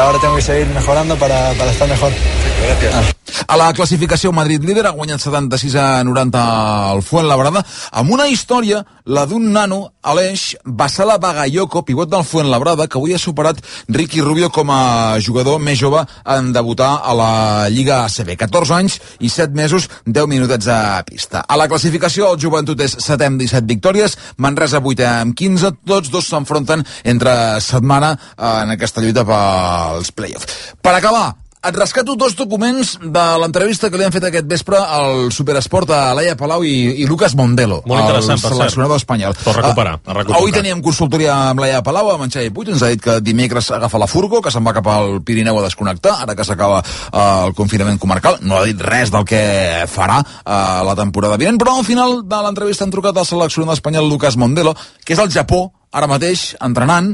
ahora tengo que seguir mejorando para, para estar mejor. Gracias. A la classificació, Madrid líder ha guanyat 76 a 90 al Fuenlabrada, amb una història, la d'un nano, Aleix Basala Bagayoko, pivot del Fuenlabrada, que avui ha superat Ricky Rubio com a jugador més jove en debutar a la Lliga ACB. 14 anys i 7 mesos, 10 minutets a pista. A la classificació, el Joventut és 7 amb 17 victòries, Manresa 8 amb 15, tots dos s'enfronten entre setmana eh, en aquesta lluita pels play-offs. Per acabar, et rescato dos documents de l'entrevista que li han fet aquest vespre al Superesport a Laia Palau i, i Lucas Mondelo, Molt el interessant, per cert. seleccionador espanyol. Pot recuperar, Ah, a recuperar. Avui teníem consultoria amb Laia Palau, amb en Xavi Puig, ens ha dit que dimecres agafa la furgo, que se'n va cap al Pirineu a desconnectar, ara que s'acaba eh, el confinament comarcal. No ha dit res del que farà eh, la temporada vinent, però al final de l'entrevista han trucat al seleccionador espanyol Lucas Mondelo, que és al Japó, ara mateix, entrenant,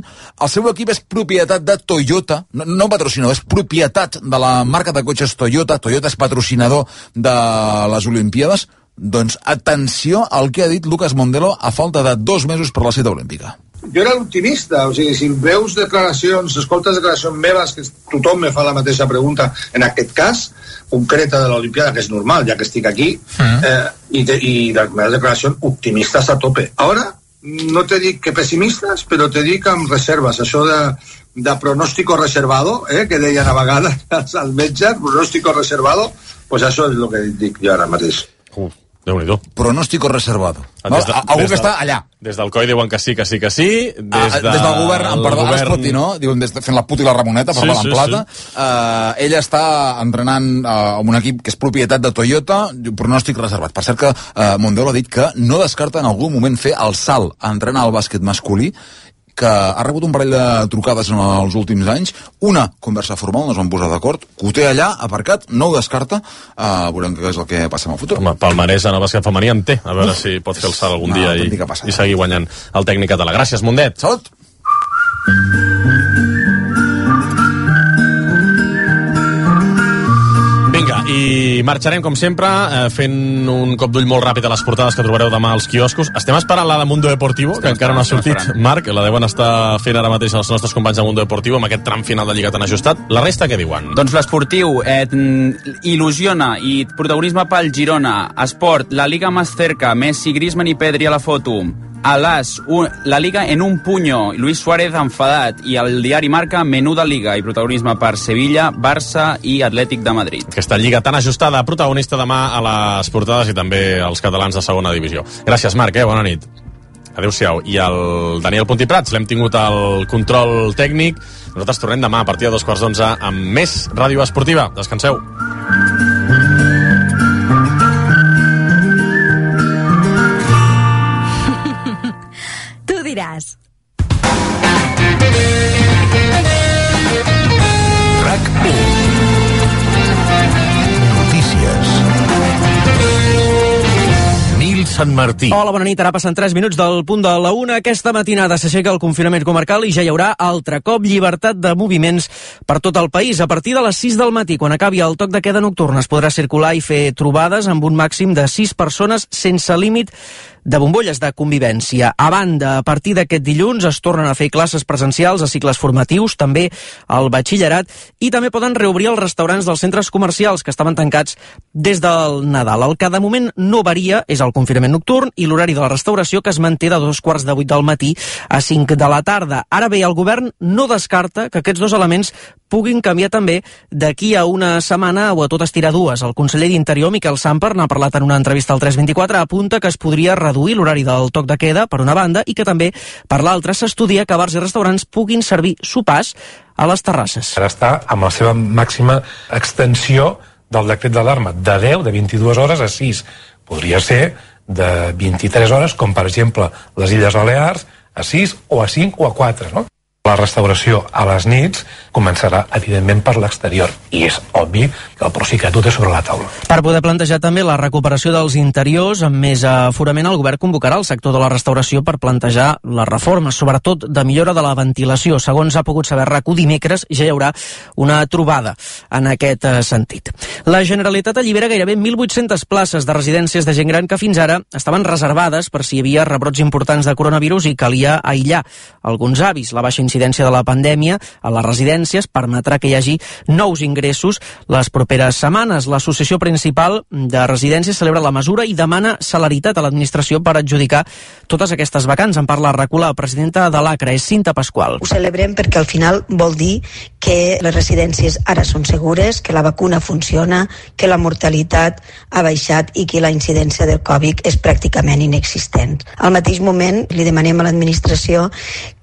el seu equip és propietat de Toyota, no, no patrocinador, és propietat de la marca de cotxes Toyota, Toyota és patrocinador de les Olimpíades, doncs atenció al que ha dit Lucas Mondelo a falta de dos mesos per la cita olímpica. jo era l'optimista, o sigui, si veus declaracions, escoltes declaracions meves, que tothom me fa la mateixa pregunta en aquest cas, concreta de l'Olimpiada, que és normal, ja que estic aquí, mm. eh, i, te, i les meves declaracions optimistes a tope. Ara, no te dic que pessimistes, però te dic amb reserves, això de, de pronóstico reservado, eh, que deien a vegades als als metges, pronóstico reservado, pues això és el que dic jo ara mateix. Uf, Déu-n'hi-do. Pronóstico reservado. No? Ah, Des de- Algú des que de- està allà. Ah, Des del COI diuen que sí, que sí, que sí. Des, de, des del govern, em el perdó, govern... es pot dir, no? Diuen des de, fent la puta i la Ramoneta, per Sí, parlar en sí, plata. Eh, ella està entrenant eh, amb un equip que és propietat de Toyota, diu, pronòstic reservat. Per cert que eh, Mondelo ha dit que no descarta en algun moment fer el salt a entrenar al bàsquet masculí, que ha rebut un parell de trucades en els últims anys, una conversa formal, no es van posar d'acord, que ho té allà, aparcat, no ho descarta, eh, veurem què és el que passa en el futur. Home, Palmarès en el bàsquet femení en té. A veure si pot fer el salt algun Una dia i, autèntica passada. i seguir guanyant el tècnic català. Gràcies, Mundet. Salut! Vinga, i marxarem, com sempre, eh, fent un cop d'ull molt ràpid a les portades que trobareu demà als quioscos. Estem esperant la de Mundo Deportivo, que encara no ha sortit. Marc, la deuen estar fent ara mateix els nostres companys de Mundo Deportivo amb aquest tram final de Lliga tan ajustat. La resta què diuen? Doncs l'esportiu eh, mm, il·lusiona i protagonisme pel Girona. Esport, la Liga más cerca, Messi, Griezmann i Pedri a la foto. Alas, un, la Liga en un puño, Luis Suárez enfadat. I el diari Marca, menuda Liga i protagonisme per Sevilla, Barça i Atlètic de Madrid. Aquesta lliga tan ajustada, protagonista demà a les portades i també als catalans de segona divisió. Gràcies, Marc, eh? bona nit. Adéu-siau. I el Daniel Pontiprats, l'hem tingut al control tècnic. Nosaltres tornem demà a partir de dos quarts d'onze amb més ràdio esportiva. Descanseu. Tu diràs. Notícies. Nil Sant Martí. Hola, bona nit. Ara passen 3 minuts del punt de la 1. Aquesta matinada s'aixeca el confinament comarcal i ja hi haurà altre cop llibertat de moviments per tot el país. A partir de les 6 del matí, quan acabi el toc de queda nocturn, es podrà circular i fer trobades amb un màxim de 6 persones sense límit de bombolles de convivència. A banda, a partir d'aquest dilluns es tornen a fer classes presencials a cicles formatius, també al batxillerat, i també poden reobrir els restaurants dels centres comercials que estaven tancats des del Nadal. El que de moment no varia és el confinament nocturn i l'horari de la restauració que es manté de dos quarts de vuit del matí a cinc de la tarda. Ara bé, el govern no descarta que aquests dos elements puguin canviar també d'aquí a una setmana o a tot estirar dues. El conseller d'Interior, Miquel Samper, n'ha parlat en una entrevista al 324, apunta que es podria reduir l'horari del toc de queda, per una banda, i que també, per l'altra, s'estudia que bars i restaurants puguin servir sopars a les terrasses. ara està amb la seva màxima extensió del decret d'alarma, de 10, de 22 hores a 6. Podria ser de 23 hores, com per exemple les Illes Balears, a 6 o a 5 o a 4, no? La restauració a les nits començarà, evidentment, per l'exterior. I és obvi que el Procicat ho té sobre la taula. Per poder plantejar també la recuperació dels interiors amb més aforament, el govern convocarà el sector de la restauració per plantejar les reformes, sobretot de millora de la ventilació. Segons ha pogut saber RAC1 dimecres, ja hi haurà una trobada en aquest eh, sentit. La Generalitat allibera gairebé 1.800 places de residències de gent gran que fins ara estaven reservades per si hi havia rebrots importants de coronavirus i calia aïllar alguns avis. La baixa incidència incidència de la pandèmia a les residències permetrà que hi hagi nous ingressos les properes setmanes. L'associació principal de residències celebra la mesura i demana celeritat a l'administració per adjudicar totes aquestes vacants. En parla Recula, presidenta de l'ACRA, és Cinta Pasqual. Ho celebrem perquè al final vol dir que les residències ara són segures, que la vacuna funciona, que la mortalitat ha baixat i que la incidència del Covid és pràcticament inexistent. Al mateix moment li demanem a l'administració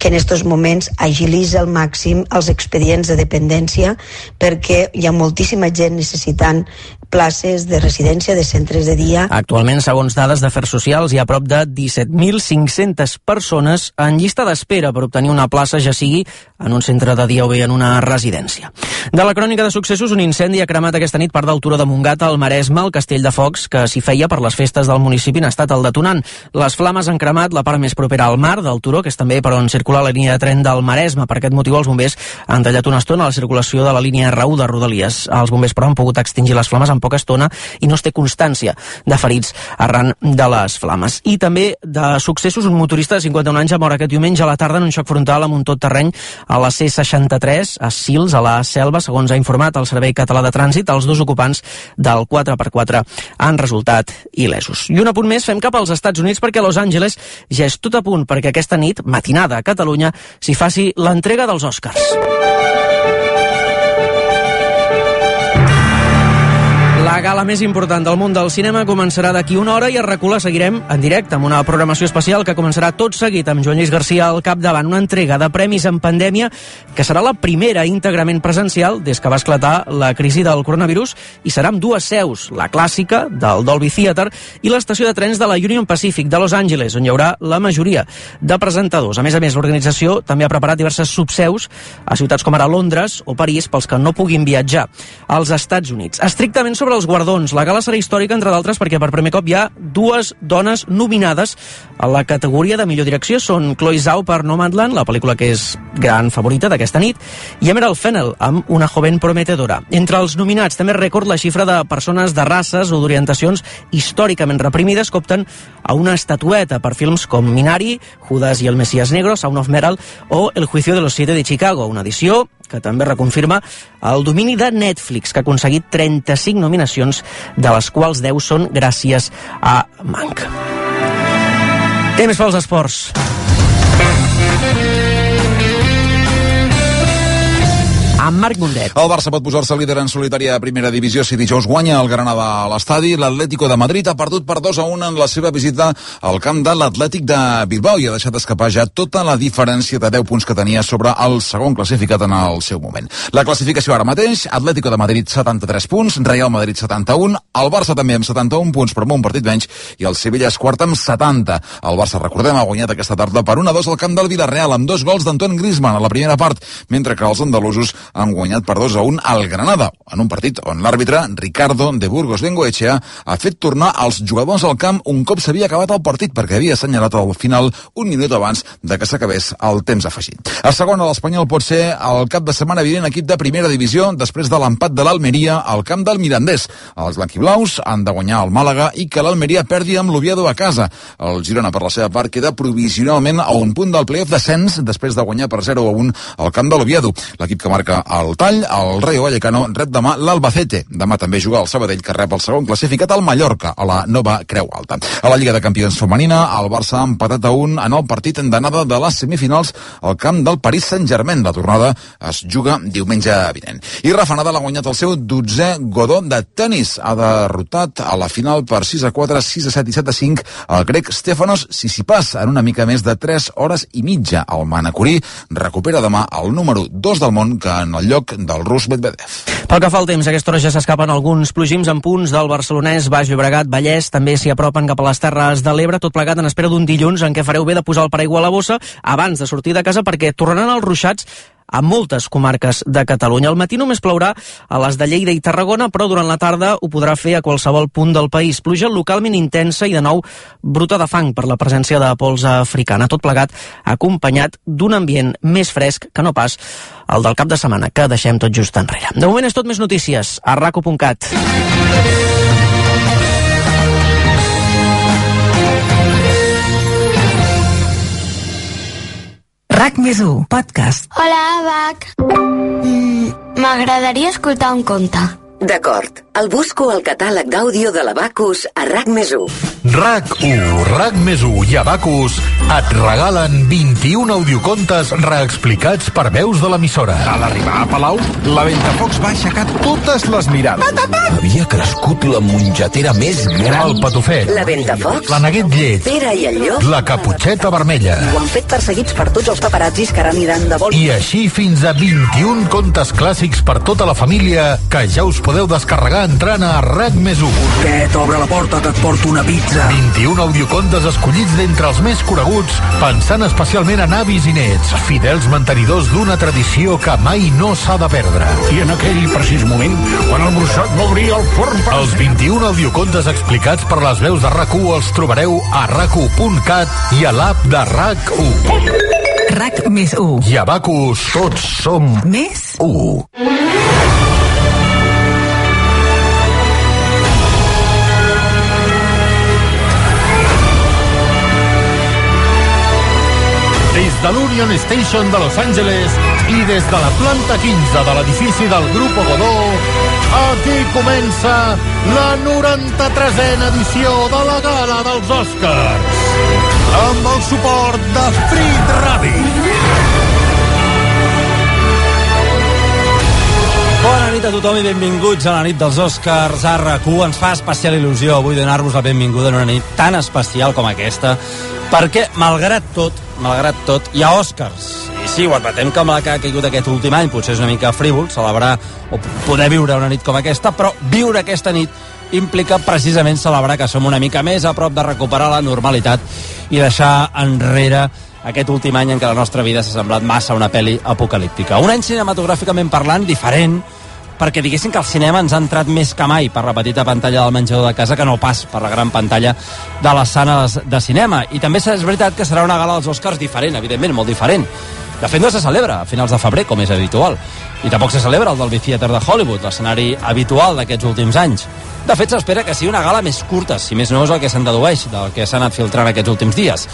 que en aquests moments agilitzi al màxim els expedients de dependència perquè hi ha moltíssima gent necessitant places de residència, de centres de dia. Actualment, segons dades d'Afers Socials, hi ha prop de 17.500 persones en llista d'espera per obtenir una plaça, ja sigui en un centre de dia o bé en una residència. De la crònica de successos, un incendi ha cremat aquesta nit part del Turó de Montgat al Maresme, el castell de focs que s'hi feia per les festes del municipi n'ha estat el detonant. Les flames han cremat la part més propera al mar del Turó, que és també per on circula la línia de tren del Maresme. Per aquest motiu, els bombers han tallat una estona la circulació de la línia R1 de Rodalies. Els bombers, però, han pogut extingir les flames en poca estona i no es té constància de ferits arran de les flames. I també de successos, un motorista de 51 anys ja mor aquest diumenge a la tarda en un xoc frontal amb un tot terreny a la C63 a Sils, a la Selva, segons ha informat el Servei Català de Trànsit. Els dos ocupants del 4x4 han resultat il·lesos. I un apunt més, fem cap als Estats Units perquè a Los Angeles ja és tot a punt perquè aquesta nit, matinada a Catalunya, s'hi faci l'entrega dels Oscars. La gala més important del món del cinema començarà d'aquí una hora i a Recula seguirem en directe amb una programació especial que començarà tot seguit amb Joan Lluís Garcia al capdavant, una entrega de premis en pandèmia que serà la primera íntegrament presencial des que va esclatar la crisi del coronavirus i serà amb dues seus, la clàssica del Dolby Theater i l'estació de trens de la Union Pacific de Los Angeles, on hi haurà la majoria de presentadors. A més a més, l'organització també ha preparat diverses subseus a ciutats com ara Londres o París pels que no puguin viatjar als Estats Units. Estrictament sobre els guardons. La gala serà històrica, entre d'altres, perquè per primer cop hi ha dues dones nominades a la categoria de millor direcció. Són Chloe Zhao per Nomadland, la pel·lícula que és gran favorita d'aquesta nit, i Emerald Fennel, amb Una joven prometedora. Entre els nominats també record la xifra de persones de races o d'orientacions històricament reprimides que opten a una estatueta per films com Minari, Judas i el Messias Negro, Sound of Metal o El juicio de los siete de Chicago, una edició que també reconfirma el domini de Netflix, que ha aconseguit 35 nominacions, de les quals 10 són gràcies a Mank. Temps pels esports. Amb Marc Mundet. El Barça pot posar-se líder en solitària a primera divisió si dijous guanya el Granada a l'estadi. L'Atlético de Madrid ha perdut per 2 a 1 en la seva visita al camp de l'Atlètic de Bilbao i ha deixat escapar ja tota la diferència de 10 punts que tenia sobre el segon classificat en el seu moment. La classificació ara mateix, Atlético de Madrid 73 punts, Real Madrid 71, el Barça també amb 71 punts però amb un partit menys i el Sevilla és quart amb 70. El Barça, recordem, ha guanyat aquesta tarda per 1 a 2 al camp del Villarreal amb dos gols d'Anton Griezmann a la primera part, mentre que els andalusos han guanyat per 2 a 1 al Granada, en un partit on l'àrbitre Ricardo de Burgos Bengoetxea ha fet tornar els jugadors al camp un cop s'havia acabat el partit perquè havia assenyalat al final un minut abans de que s'acabés el temps afegit. A segona, l'Espanyol pot ser el cap de setmana vinent equip de primera divisió després de l'empat de l'Almeria al camp del Mirandés. Els blanquiblaus han de guanyar el Màlaga i que l'Almeria perdi amb l'Oviedo a casa. El Girona, per la seva part, queda provisionalment a un punt del playoff descens després de guanyar per 0 a 1 al camp de l'Oviedo. L'equip que marca el tall, el Rayo Vallecano rep demà l'Albacete. Demà també juga el Sabadell, que rep el segon classificat al Mallorca, a la nova Creu Alta. A la Lliga de Campions Femenina, el Barça ha empatat a un en el partit d'anada de les semifinals al camp del Paris Saint-Germain. La tornada es juga diumenge vinent. I Rafa Nadal ha guanyat el seu 12è Godó de tennis. Ha derrotat a la final per 6 a 4, 6 a 7 i 7 a 5 el grec Stefanos Sissipas en una mica més de 3 hores i mitja. El Manacorí recupera demà el número 2 del món que en el lloc del rus Medvedev. Pel que fa al temps, a aquesta hora ja s'escapen alguns plogims en punts del barcelonès, Baix Llobregat, Vallès, també s'hi apropen cap a les Terres de l'Ebre, tot plegat en espera d'un dilluns en què fareu bé de posar el paraigua a la bossa abans de sortir de casa perquè tornaran els ruixats a moltes comarques de Catalunya. Al matí només plourà a les de Lleida i Tarragona, però durant la tarda ho podrà fer a qualsevol punt del país. Pluja localment intensa i de nou bruta de fang per la presència de pols africana. Tot plegat acompanyat d'un ambient més fresc que no pas el del cap de setmana, que deixem tot just enrere. De moment és tot més notícies a raco.cat. RAC més 1, podcast. Hola, Abac. M'agradaria mm, escoltar un conte. D'acord, el busco al catàleg d'àudio de l'Abacus a RAC més 1. RAC1, RAC més 1 i Abacus et regalen 21 audiocontes reexplicats per veus de l'emissora. A l'arribar a Palau, la Ventafocs va aixecar totes les mirades. Havia crescut la mongetera més gran. El patufet. La Ventafocs. La neguet llet. Pere i el llop. La caputxeta vermella. Ho han fet perseguits per tots els paparazzis que ara aniran de vol. I així fins a 21 contes clàssics per tota la família que ja us podeu descarregar entrant a RAC més 1. Tet, obre la porta, que et porto una pizza. 21 audiocontes escollits d'entre els més coneguts, pensant especialment en avis i nets, fidels mantenidors d'una tradició que mai no s'ha de perdre. I en aquell precís moment, quan el bruixot va obrir el forn per... Els 21 audiocontes explicats per les veus de rac els trobareu a rac i a l'app de RAC1. RAC més 1. I a Bacus, tots som... Més? 1. des de l'Union Station de Los Angeles i des de la planta 15 de l'edifici del Grup Godó, aquí comença la 93a edició de la gala dels Oscars amb el suport de Frit Radio. Bona nit a tothom i benvinguts a la nit dels Oscars a rac Ens fa especial il·lusió avui donar-vos la benvinguda en una nit tan especial com aquesta, perquè, malgrat tot, malgrat tot, hi ha Oscars. I sí, ho admetem que amb la que ha caigut aquest últim any potser és una mica frívol celebrar o poder viure una nit com aquesta, però viure aquesta nit implica precisament celebrar que som una mica més a prop de recuperar la normalitat i deixar enrere aquest últim any en què la nostra vida s'ha semblat massa una pel·li apocalíptica. Un any cinematogràficament parlant diferent, perquè diguéssim que el cinema ens ha entrat més que mai per la petita pantalla del menjador de casa que no pas per la gran pantalla de les sales de cinema. I també és veritat que serà una gala dels Oscars diferent, evidentment, molt diferent. De fet, no se celebra a finals de febrer, com és habitual. I tampoc se celebra el Dolby Theatre de Hollywood, l'escenari habitual d'aquests últims anys. De fet, s'espera que sigui una gala més curta, si més no és el que se'n dedueix del que s'ha anat filtrant aquests últims dies.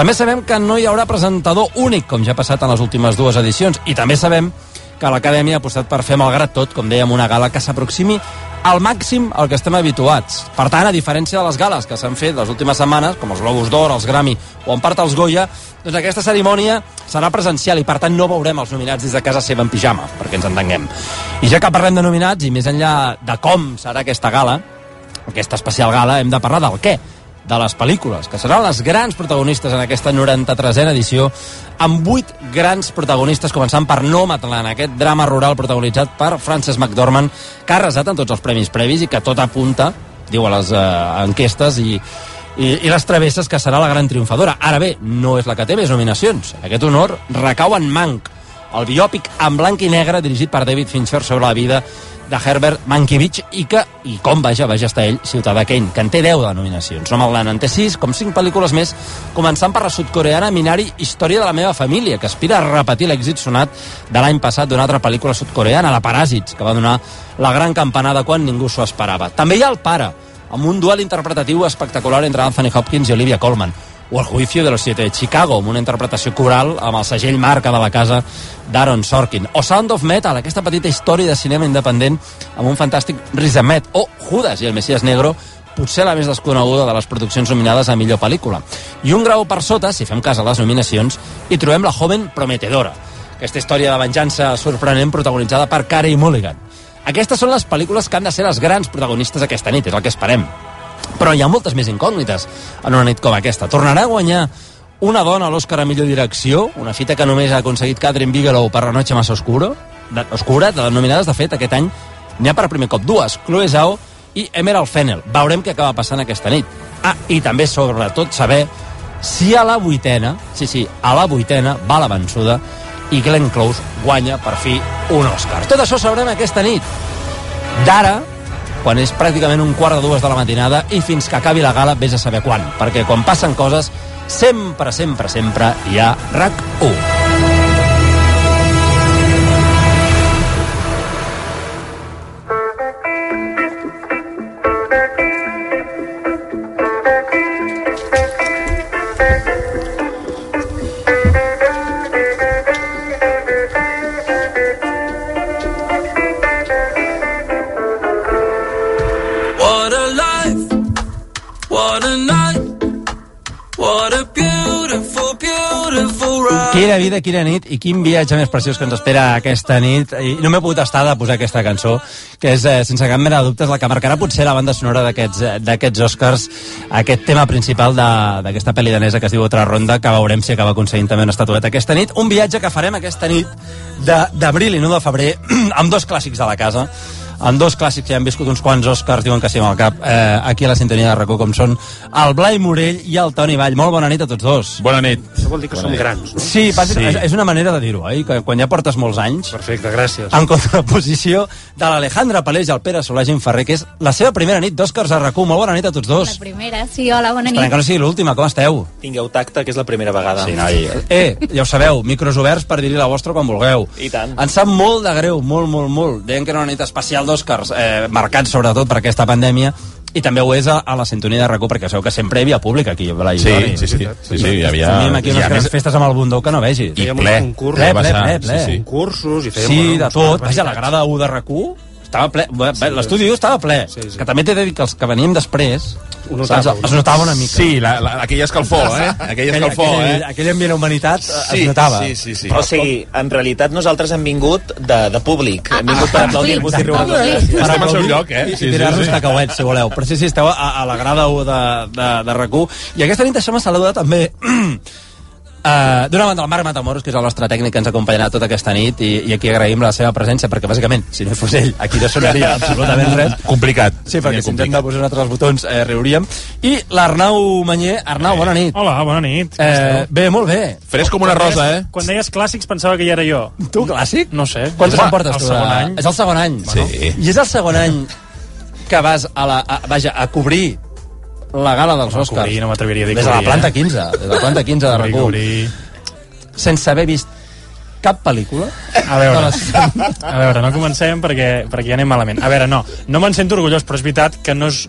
També sabem que no hi haurà presentador únic, com ja ha passat en les últimes dues edicions, i també sabem que l'Acadèmia ha apostat per fer, malgrat tot, com dèiem, una gala que s'aproximi al màxim al que estem habituats. Per tant, a diferència de les gales que s'han fet les últimes setmanes, com els Globus d'Or, els Grammy o en part els Goya, doncs aquesta cerimònia serà presencial i per tant no veurem els nominats des de casa seva en pijama, perquè ens entenguem. I ja que parlem de nominats i més enllà de com serà aquesta gala, aquesta especial gala, hem de parlar del què de les pel·lícules, que seran les grans protagonistes en aquesta 93a edició, amb vuit grans protagonistes, començant per Nomadland, aquest drama rural protagonitzat per Frances McDormand, que ha resat en tots els premis previs i que tot apunta, diu a les eh, enquestes i, i, i les travesses, que serà la gran triomfadora. Ara bé, no és la que té més nominacions. Aquest honor recau en Manc, el biòpic en blanc i negre dirigit per David Fincher sobre la vida de Herbert Mankiewicz i que, i com vaja, vaja està ell, Ciutadà Kane, que en té 10 de nominacions. No malglant, en té 6, com 5 pel·lícules més, començant per la sudcoreana Minari Història de la meva família, que aspira a repetir l'èxit sonat de l'any passat d'una altra pel·lícula sudcoreana, La Paràsits, que va donar la gran campanada quan ningú s'ho esperava. També hi ha El pare, amb un duel interpretatiu espectacular entre Anthony Hopkins i Olivia Colman o El juicio de los siete de Chicago, amb una interpretació coral amb el segell marca de la casa d'Aaron Sorkin. O Sound of Metal, aquesta petita història de cinema independent amb un fantàstic risamet. O Judas i el Messias Negro, potser la més desconeguda de les produccions nominades a millor pel·lícula. I un grau per sota, si fem cas a les nominacions, hi trobem La joven prometedora, aquesta història de venjança sorprenent protagonitzada per Carey Mulligan. Aquestes són les pel·lícules que han de ser les grans protagonistes aquesta nit, és el que esperem. Però hi ha moltes més incògnites en una nit com aquesta. Tornarà a guanyar una dona a l'Oscar a millor direcció, una fita que només ha aconseguit Catherine Bigelow per La noche más oscura, de, oscura, de les nominades, de fet, aquest any n'hi ha per primer cop dues, Chloe Zhao i Emerald Fennel. Veurem què acaba passant aquesta nit. Ah, i també, sobretot, saber si a la vuitena, sí, sí, a la vuitena va la vençuda i Glenn Close guanya, per fi, un Oscar. Tot això sabrem aquesta nit. D'ara, quan és pràcticament un quart de dues de la matinada i fins que acabi la gala vés a saber quan, perquè quan passen coses sempre, sempre, sempre hi ha RAC1. Quina vida, quina nit i quin viatge més preciós que ens espera aquesta nit. I no m'he pogut estar de posar aquesta cançó, que és, eh, sense cap mena de dubtes, la que marcarà potser la banda sonora d'aquests eh, d'aquests Oscars, aquest tema principal de- d'aquesta pel·li danesa que es diu Otra Ronda, que veurem si acaba aconseguint també una estatueta aquesta nit. Un viatge que farem aquesta nit de- d'abril i no de febrer, amb dos clàssics de la casa amb dos clàssics que ja han viscut uns quants Oscars, diuen que sí amb el cap, eh, aquí a la sintonia de racó com són el Blai Morell i el Toni Vall. Molt bona nit a tots dos. Bona nit. Això vol dir que som grans, no? Sí, bàsic, sí. és una manera de dir-ho, eh? que quan ja portes molts anys... Perfecte, gràcies. En contraposició de l'Alejandra Palés i el Pere Solà Gent Ferrer, que és la seva primera nit d'Òscars a RAC1. Molt bona nit a tots dos. Primera, sí, hola, bona nit. Esperem que no sigui l'última, com esteu? Tingueu tacte, que és la primera vegada. Sí, noi. Eh, ja ho sabeu, micros oberts per dir-hi la vostra quan vulgueu. I tant. Ens sap molt de greu, molt, molt, molt. Deien que era una nit especial d'Òscars, eh, marcat sobretot per aquesta pandèmia, i també ho és a, a la sintonia de RAC1, perquè sabeu que sempre hi havia públic aquí. Blai, Sí, Toni. sí, sí, sí, sí, sí, hi havia- Teníem aquí hi unes havia- grans festes amb el bundó que no vegis. I Fèiem uns ple. concursos. ple, Va ple, passar, ple, ple. sí, sí. Concursos i fèiem Sí, unes de tot. barbaritats. Vaja, la grada 1 de RAC1 estava ple. Bé, bé, L'estudi 1 estava ple. Sí, sí. Que també t'he de dir que els que veníem després Ho saps, notava, es notava una mica. Sí, la, la, aquella escalfor, eh? Aquella escalfor, aquell, eh? Aquell ambient de humanitat sí, Sí, es notava. sí, sí, sí. O sigui, en realitat nosaltres hem vingut de, de públic. Hem vingut per Ah, aplaudir-vos i exacte. riure. Estem al seu lloc, eh? I Sí, sí, tirar-nos sí. cacauets, si voleu. Però sí, sí, esteu a, a la grada 1 de, de, de RAC1. I aquesta nit deixem saludar també Uh, D'una banda, el Marc Matamoros, que és el nostre tècnic que ens acompanyarà tota aquesta nit i, i aquí agraïm la seva presència, perquè bàsicament, si no fos ell, aquí no sonaria absolutament res. Complicat. Sí, perquè si ens hem de posar nosaltres els botons eh, riuríem. I l'Arnau Manyer. Arnau, bona nit. Hola, bona nit. Eh, bé, molt bé. Fresc com una rosa, eh? Quan deies clàssics pensava que ja era jo. Tu, clàssic? No sé. Quantes Home, en portes tu? el segon de- any. És el segon any. Bueno. I és el segon any que vas a, la, a, vaja, a cobrir la gala dels No, Oscars. cobrir, no m'atreviria a dir Des de la cobrir, planta eh? 15, des de la planta 15 de Cobrir, RAC1. cobrir. Sense haver vist cap pel·lícula. A veure, a veure, no comencem perquè, perquè ja anem malament. A veure, no, no me'n sento orgullós, però és veritat que no és,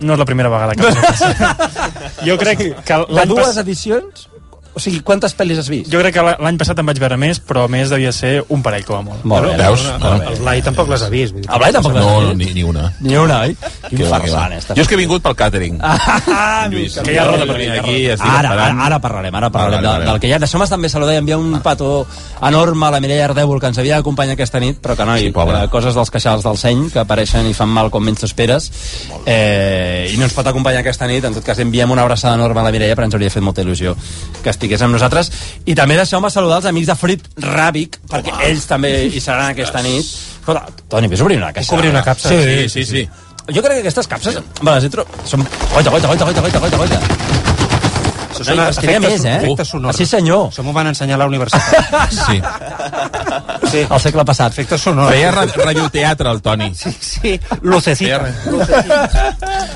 no és la primera vegada que m'ho passa. Jo crec que De l'any dues passat... edicions? O sigui, quantes pel·lis has vist? Jo crec que la- l'any passat em vaig veure més, però a més devia ser un parell com a molt. Molt bé. Veus? Molt bé. Ah, El Blai tampoc les ha vist. vull dir. El Blai tampoc les ha No, vist. no, ni, ni una. Ni una, oi? Quin Que va, que va. farsant, esta. Jo és que he vingut pel càtering. Ah, Lluís. que ja roda per aquí. estic Ara, ara, esperant. ara parlarem, ara parlarem Ah, del, vale, del que ja... Deixeu-me també saludar i enviar un petó enorme a la Mireia Ardèvol, que ens havia d'acompanyar aquesta nit, però que no, Sí, hi pobra. eh, coses dels queixals del seny que apareixen i fan mal com menys t'ho esperes, eh, i no ens pot acompanyar aquesta nit, en tot cas enviem una abraçada enorme a la Mireia, però ens hauria fet molta il·lusió que estigués amb nosaltres, i també deixeu-me saludar els amics de Frit Ràbic, perquè ells també hi seran aquesta nit. Però, Toni, vés a obrir una caixa. Obrir una capsa? Sí, sí, sí. Jo crec que aquestes capses, me les he trobat... Són... Goita, goita, goita, goita, goita, goita, goita. Això No, és que hi ha més, eh? Efecte sonor. Sí, senyor. Això m'ho van ensenyar a la universitat. Sí. sí. Al segle passat. Efecte sonor. Feia ra- radioteatre, el Toni. Sí, sí. Lucecita.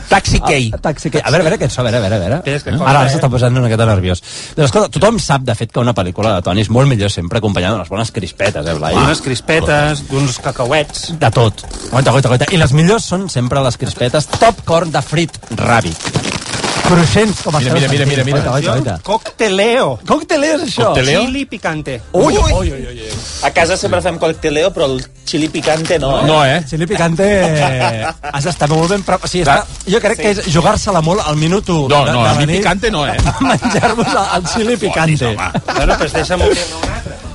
Taxi Key. Taxi Key. A veure, a veure, aquest so, a veure, a veure. A veure. Sí, és que Eh? corre, Ara ara eh? s'està posant una miqueta nerviós. Doncs escolta, tothom sap, de fet, que una pel·lícula de Toni és molt millor sempre acompanyada d'unes bones crispetes, eh, Blai? Unes crispetes, d'uns cacauets. De tot. Goita, goita, goita. I les millors són sempre les crispetes top corn de frit ràbic. Cruixents com Mira, esteu mira, mira, mira, Goita, mira. goita, goita. Cocteleo. Cocteleo és això? Cocteleo? Chili picante. Ui, ui, ui. A casa sempre fem cocteleo, però el xili picante no, eh? No, eh? Chili picante... Eh, Has d'estar molt ben preparat. O sigui, està... Jo crec que és jugar-se-la molt al minut 1. No, no, a mi picante no, eh? Menjar-vos el- el xili picante. Bueno, pues deixa'm obrir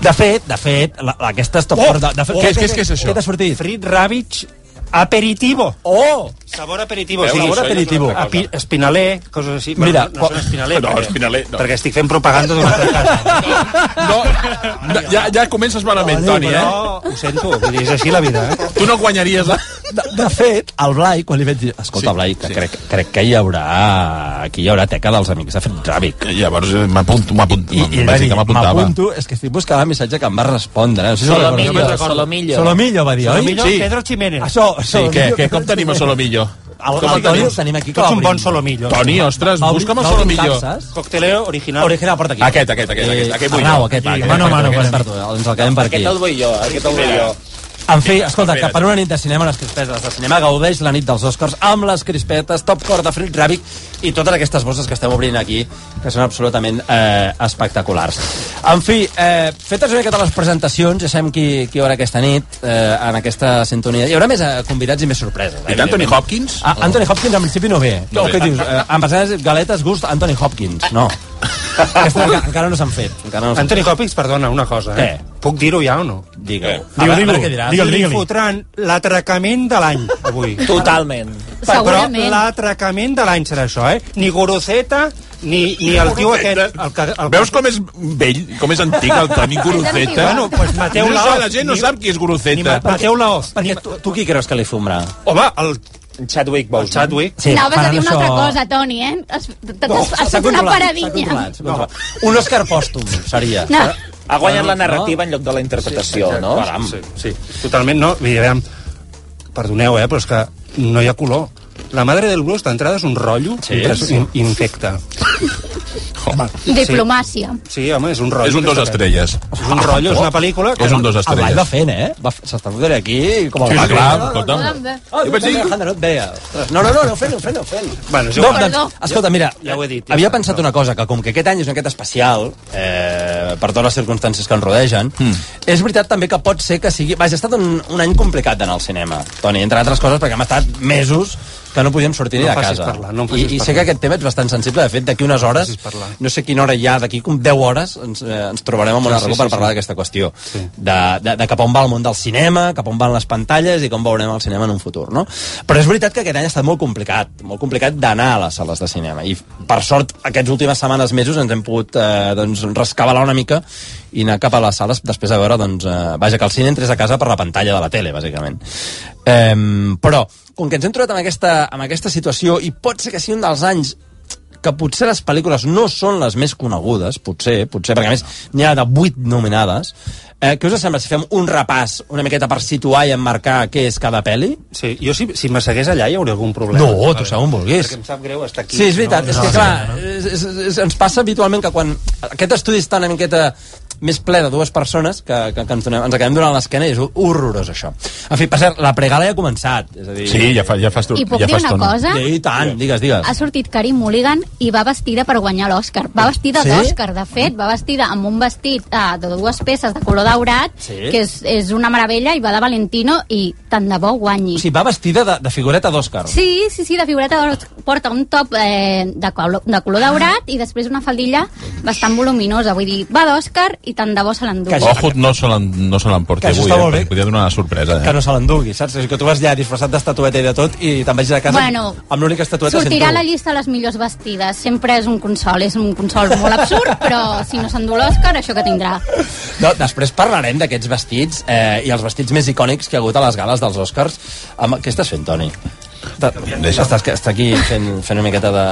De fet, de fet, la, la, aquesta és top oh, de, de fet, oh, què- què és això? Què t'ha sortit? Frit Ravitch aperitivo. Oh! Sabor aperitivo. Veus, sabor aperitivo. Api, espinaler, coses així. Mira, Bueno, no, no són espinaler. No, perquè- espinaler, no. Perquè estic fent propaganda d'una altra casa. No, no, ja, ja comences malament, Toni, eh? Però ho sento, vull dir, és així la vida. Eh? Tu no guanyaries la... De, de fet, el Blai, quan li vaig dir... Escolta, Sí, sí, Blai, que sí. sí. crec, crec que hi haurà... Aquí hi haurà teca dels amics de Fred Ràbic. Llavors eh, m'apunto, m'apunto. I, i ell va vaig dir dir, que m'apuntava. m'apunto, és que estic buscant el missatge que em va respondre. eh? No sé si Solo ho recordes. millo, solo millo. Solomillo, va dir, oi? Solomillo, Sí. Pedro Jiménez. Això, Sí, Solomillo, què, què, que- com tenim a Solomillo? El, Com el, el Toni tenim? el tenim aquí. que Tots un l'obrim. bon solomillo. Toni, ostres, Va obrir- busca'm el va obrir Solomillo. capses. Cocteleo original. Original, porta aquí. Eh, Aquest, aquest, aquest, aquest, aquest vull Arnau, jo. aquest. Va, aquest, mano, aquest, mano, aquest, mano. perdó, Ens el quedem per aquí. Aquest el vull jo, aquest el vull jo. En fi, escolta, que per una nit de cinema les crispetes de cinema gaudeix la nit dels Oscars amb les crispetes, top core de Frit Ràbic i totes aquestes bosses que estem obrint aquí que són absolutament eh, espectaculars. En fi, eh, fetes una miqueta les presentacions, ja sabem qui, qui hi haurà aquesta nit eh, en aquesta sintonia. Hi haurà més eh, convidats i més sorpreses. I Anthony Hopkins? Ah, Ah, Anthony Hopkins en principi no ve. No No, ve. què dius? Eh, en passades galetes, gust, Anthony Hopkins. No. Aquesta enca- encara no s'han fet. Encara no s'han Antoni Còpics, perdona, una cosa, eh? Eh. Puc dir-ho ja o no? Digue-ho. Eh. A veure, a Digue-ho, veure digue-ho. què diràs. Digue'l, Li digue'l. fotran l'atracament de l'any, avui. Totalment. Però Segurament. l'atracament de l'any serà això, eh? Ni Guruceta, ni, ni el tio aquest... El, que- el, Veus com és vell, com és antic el Toni Guruceta? Bueno, pues Mateu no, Laoz. La gent no Ni- sap qui és Guruceta. Laoz. Perquè tu, tu qui creus que li fumrà? Home, el... Chadwick Boseman. Chadwick. Sí, Anaves a faran dir una això- altra cosa, Toni, eh? Has, t'has- No, has s'ha fet una controlat, s'ha paradinha. controlat, s'ha controlat. Un Òscar pòstum, seria. Oh, No. Ha guanyat la narrativa en lloc de la interpretació, Exacte, no? Caram. Sí, sí, totalment no. I, veure, perdoneu, eh, però és que no hi ha color. La madre del blues d'entrada és un rotllo Sí? sí, sí. infecte. Home, Diplomàcia. Sí, home, és un rotllo. És un que dos està fet. estrelles. És un rotllo, és una pel·lícula... És un dos El Blai estrelles. va fent, eh? Va- S'està fotent aquí com el Sí, Blai. sí, Ah, clar, escolta'm. Oh, Jo vaig dir- Alejandro, et veia. No, no, no, no, fent-ho, fent-ho, fent-ho. Bueno, és No, igual. doncs, escolta, mira, eh, Ja ho he dit, ja havia està, pensat una cosa, que com que aquest any és un aquest especial, eh, per totes les circumstàncies que ens rodegen, Hmm. és veritat també que pot ser que sigui... Vaja, ha estat un, un any complicat d'anar al cinema, Toni, entre altres coses, perquè hem estat mesos que no podíem sortir ni No de em facis casa. parlar, no em I, facis I sé parlar. que aquest tema ets bastant sensible, de fet, d'aquí unes hores, facis parlar. no sé quina hora hi ha, d'aquí com 10 hores, ens, eh, ens trobarem amb una Sí, sí, sí, sí, per sí. parlar d'aquesta qüestió. Sí. De, de, de cap on va el món del cinema, cap on van les pantalles i com veurem el cinema en un futur, no? Però és veritat que aquest any ha estat molt complicat, molt complicat d'anar a les sales de cinema. I, per sort, aquestes últimes setmanes, mesos, ens hem pogut eh, doncs, rescabalar una mica i anar cap a les sales després de veure, doncs, eh, vaja, que el cine entres a casa per la pantalla de la tele, bàsicament. Eh, però, com que ens hem trobat amb aquesta, amb aquesta situació, i pot ser que sigui un dels anys que potser les pel·lícules no són les més conegudes, potser, potser, perquè a més n'hi ha de 8 nominades. Eh, què us sembla si fem un repàs una miqueta per situar i emmarcar què és cada pel·li? Sí, jo si, si m'assegués allà hi hauria algun problema. No, tu segon vulguis. Perquè em sap greu estar aquí. Sí, és veritat, No, és no, que no, clar, no, no. és, és, és, ens passa habitualment que quan aquest estudi està una miqueta més ple de dues persones que, que, que ens, donem, ens acabem donant l'esquena i és horrorós això. En fi, per cert, la pregala ja ha començat. És a dir, Sí, ja fa- ja fa estu- I puc ja dir fa una estona. cosa? I tant, digues, digues. Ha sortit Carey Mulligan i va vestida per guanyar l'Oscar. Va vestida Sí? d'Oscar, de fet, va vestida amb un vestit eh, de dues peces de color daurat, Sí. que és, és una meravella, i va de Valentino, i tant de bo guanyi. O sigui, va vestida de, de figureta d'Òscar. Sí, sí, sí, de figureta d'or. Porta un top eh, de, color, de color daurat i després una faldilla bastant voluminosa. Vull dir, va d'Òscar i tant de bo se l'endú. Ojo, no se l'en- no se l'emporti Que això avui, està eh? molt bé. perquè Podia donar una sorpresa, que eh? no se l'endugui, saps? És que tu vas ja disfressat d'estatueta i de tot i te'n vagis a casa Bueno, amb l'única estatueta Sortirà a la sent tu. llista de les millors vestides. Sempre és un consol, és un consol molt absurd, però si no s'endú l'Òscar, això que tindrà. No, després parlarem d'aquests vestits eh, i els vestits més icònics que hi ha hagut a les gales dels Oscars. Amb... Què estàs fent, Toni? Ta- Estàs, que- està aquí fent, fent una miqueta de...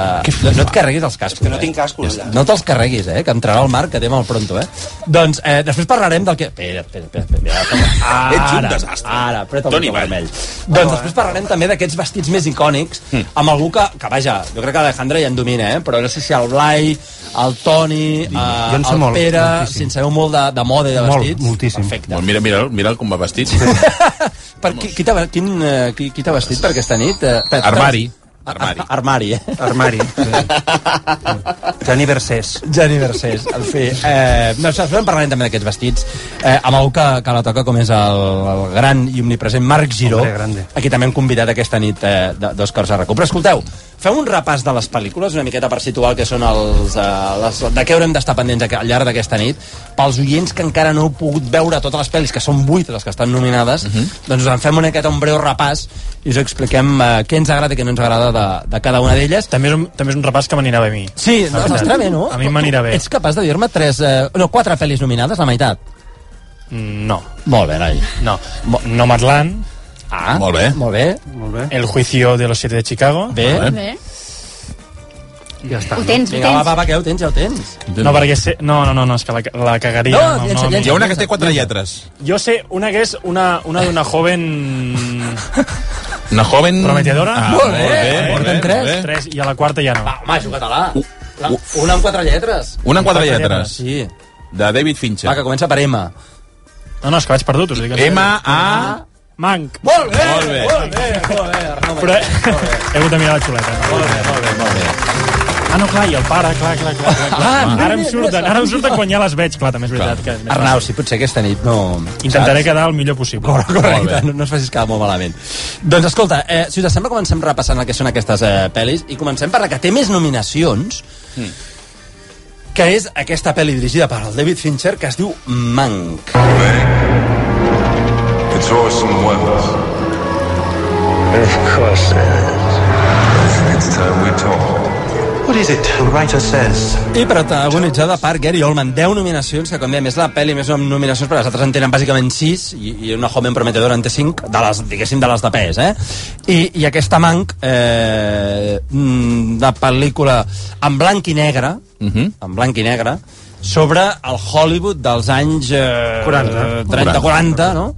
No, no et carreguis els cascos. eh? Que no tinc cascos, allà. No te'ls carreguis, eh? Que entrarà al mar, que té mal pronto, eh? Doncs eh, després parlarem del que... Espera, espera, espera. espera, espera. Ara, Ets un desastre. Ara, apreta el Toni botó Vall. vermell. Doncs després parlarem també d'aquests vestits més icònics, Mm. amb algú que, que, vaja, jo crec que l'Alejandra ja en domina, eh? però no sé si el Blai, el Toni, eh, Jo en sé el molt, Pere, moltíssim. si en sabeu molt de, de moda i de Molt, vestits. moltíssim. Perfecte. Bueno, mira, mira, mira com va vestit. Per, qui, qui t'ha quin, eh, qui, qui t'ha vestit per aquesta nit? Eh, Pep, Armari. t'has- Armari. Armari, eh? Armari. Gianni Versés. Gianni Versés, en fi. Eh, no, després en parlarem també d'aquests vestits. Eh, amb algú que, que la toca, com és el, el gran i omnipresent Marc Giró, Hombre, grande. a qui també hem convidat aquesta nit eh, de- d'Òscars a RAC1. Però escolteu, fem un repàs de les pel·lícules, una miqueta per situar el que són els... Eh, les, de què haurem d'estar pendents aqu- al llarg d'aquesta nit. Pels oients que encara no heu pogut veure totes les pel·lis, que són vuit les que estan nominades, doncs us en fem una miqueta un breu repàs i us expliquem eh, què ens agrada i què no ens agrada de, de cada una d'elles. També és, un, també és un repàs que m'anirà bé a mi. Sí, no, veritat. t'estarà bé, no? A mi m'anirà bé. Ets capaç de dir-me tres... Eh, no, quatre pel·lis nominades, la meitat. No. Molt bé, noi. No. Nomadland, Ah, Molt bé. Molt bé. Molt bé. El juicio de los siete de Chicago. Bé. Bé. Ja està. Ho tens, ho Vinga, va, tens. va, va, que ja ho tens, ja ho tens. No, perquè sé... No, no, no, no és que la, la cagaria. No, amb el llença, nom. llença. Hi ha una que té quatre lletres. Jo sé una que és una, una d'una joven... Una joven... Prometedora. Ah, Molt molt bé, bé, molt porten bé, tres. molt bé. Tres, i a la quarta ja no. Va, home, és un català. La, una amb quatre lletres. Una en quatre lletres. Sí. De David Fincher. Va, que comença per M. No, no, és que vaig perdut, us ho dic. en sèrio. M-A... Manc. Molt Eh! bé! Molt bé. Molt bé, molt bé, Arnau. Però he hagut de mirar la xuleta. Molt bé, molt bé, molt bé. Ah, no, clar, i el pare, clar, clar, clar. clar, clar. Ah, ara em mira, surten, mira, ara em surten quan ja les veig, clar, també és veritat. Que és més Arnau, fàcil. si potser aquesta nit no... Intentaré saps? quedar el millor possible. Correcte, Molt correcte, bé. no, no es facis quedar molt malament. Doncs escolta, eh, si us sembla, comencem repassant el que són aquestes eh, pel·lis i comencem per la que té més nominacions, que és aquesta pel·li dirigida per el David Fincher que es diu Mank. It's awesome weapons. Of course it is. It's time we talk. What is it? The writer says. I protagonitzada per Gary Oldman. 10 nominacions, que com dèiem és la pel·li més nom- nominacions, però les altres en tenen bàsicament 6 i, i una joven prometedora en té 5, de les, diguéssim, de les de pes, eh? I, i aquesta manc eh, mm, de pel·lícula en blanc i negre, uh -huh. en blanc i negre, sobre el Hollywood dels anys eh, 40. 30-40, no?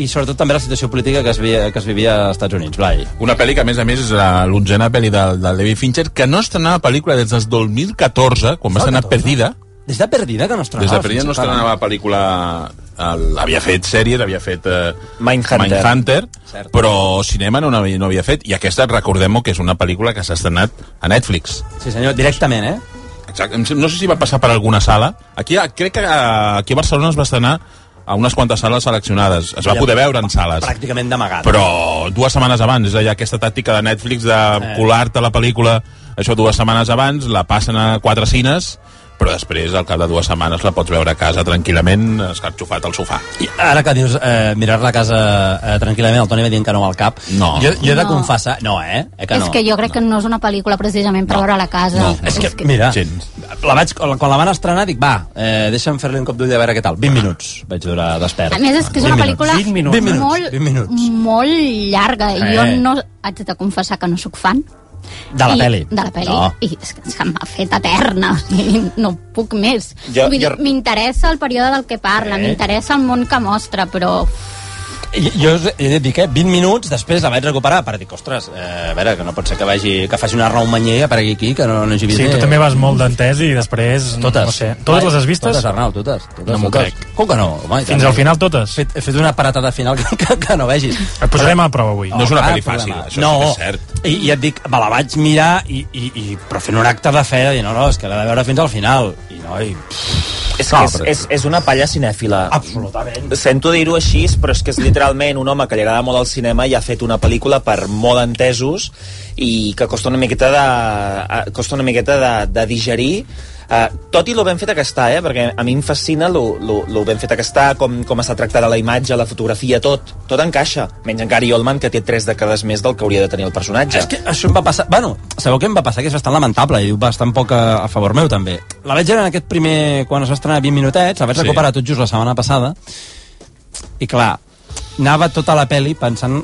i sobretot també la situació política que es, vivia, que es vivia als Estats Units, Blai. Una pel·li que, a més a més, és la- l'onzena pel·li del, del David Fincher, que no estrenava pel·lícula des del 2014, quan va estrenar Perdida. Des de Perdida que no estrenava. Des de Perdida no fins i tot, estrenava pel·lícula... El, havia fet sèries, havia fet... Eh, Mindhunter. Mindhunter, Cert. però cinema no havia, no havia fet. I aquesta, recordem-ho, que és una pel·lícula que s'ha estrenat a Netflix. Sí senyor, directament, eh? Exacte. Em sem- No sé si va passar per alguna sala. Aquí, a- crec que a- aquí a Barcelona es va estrenar a unes quantes sales seleccionades. Es va Ja, poder veure en sales. Pràcticament d'amagat. Però dues setmanes abans, és allà aquesta tàctica de Netflix de Eh. colar-te la pel·lícula, això dues setmanes abans, la passen a quatre cines, però després, al cap de dues setmanes, la pots veure a casa tranquil·lament, escarxofat al sofà. I ara que dius eh, mirar la casa eh, tranquil·lament, el Toni va dient que no amb el cap. No. Jo, jo he de No. confessar... No, eh? eh que és no. que jo crec que no és una pel·lícula precisament per veure a la casa. No, és que, mira, la vaig, quan la van estrenar dic, va, eh, deixa'm fer-li un cop d'ull a veure què tal. 20 minuts vaig durar A despert. més, és que Vint és una minuts. pel·lícula 20 minuts. 20 minuts. molt, 20 minuts. molt llarga. I jo Eh. no haig de confessar que no sóc fan. De la I- pel·li. De la pel·li. No. I és que se m'ha fet eterna. O sigui, no puc més. Jo- Vull dir, jo- m'interessa el període del que parla, Eh. m'interessa el món que mostra, però... I- Jo us he de dir que 20 minuts després la vaig recuperar per dir, ostres, eh, a veure, que no pot ser que vagi que faci una raó manyer per aquí, aquí que no, no hagi vist Sí, tu bé. també vas molt d'entès i després... Totes. No sé, totes les has vistes? Totes, Arnau, totes. totes No m'ho totes. crec. Com que no? Home, i Fins tant. al final totes? He fet, he fet una paratada final que, que, que no vegis. Et posarem a prova avui. No és una pel·li fàcil, això no. sí que és cert. I, I et dic, me la vaig mirar, i, i, i, però fent un acte de fe, de dir, no, no, és que l'he de veure fins al final. I no, i... És, que és, és, és una palla cinèfila. Absolutament. Sento dir-ho així, però és que és literalment un home que li agrada molt el cinema i ha fet una pel·lícula per molt entesos i que costa una miqueta de, eh, costa una miqueta de, de digerir Uh, tot i lo ben feta que està, eh? perquè a mi em fascina lo, lo, lo ben feta que està, com, com està tractada la imatge, la fotografia, tot. Tot encaixa, menys en Gary Oldman, que té tres dècades més del que hauria de tenir el personatge. És que això em va passar... Bueno, sabeu què em va passar? Que és bastant lamentable i bastant poc a, a favor meu, també. La vaig veure en aquest primer... Quan es va estrenar 20 minutets, la vaig Sí. sí. recuperar tot just la setmana passada. I clar, anava tota la peli pensant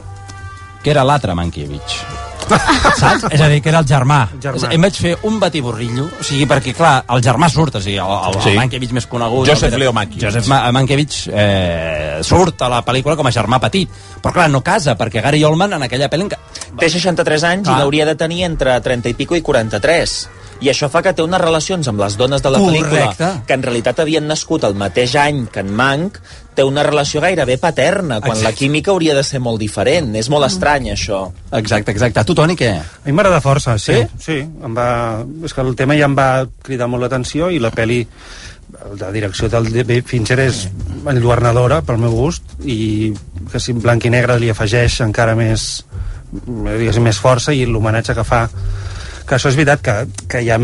que era l'altre Mankiewicz. Saps? És a dir, que era el germà. Germà. germà. Em vaig fer un batiborrillo, o sigui, perquè, clar, el germà surt, o sigui, el, el, Sí. el Mankiewicz més conegut... Joseph el- Leo Mankiewicz. Joseph Ma Mankiewicz eh, surt a la pel·lícula com a germà petit, però clar, no casa, perquè Gary Oldman en aquella pel·li... enca- Té 63 anys i Ah. n'hauria de tenir entre 30 i pico i 43. I això fa que té unes relacions amb les dones de la Correcte. pel·lícula, que en realitat havien nascut el mateix any que en Mank, té una relació gairebé paterna, quan la química hauria de ser molt diferent. És molt estrany, això. Exacte, exacte. Tu, Toni, què? A mi m'agrada força, sí. Sí, em va... és que el tema ja em va cridar molt l'atenció i la peli la direcció del David Fincher és enlluernadora, pel meu gust, i que si en blanc i negre li afegeix encara més, diguéssim, més força i l'homenatge que fa que això és veritat, que, que hi ha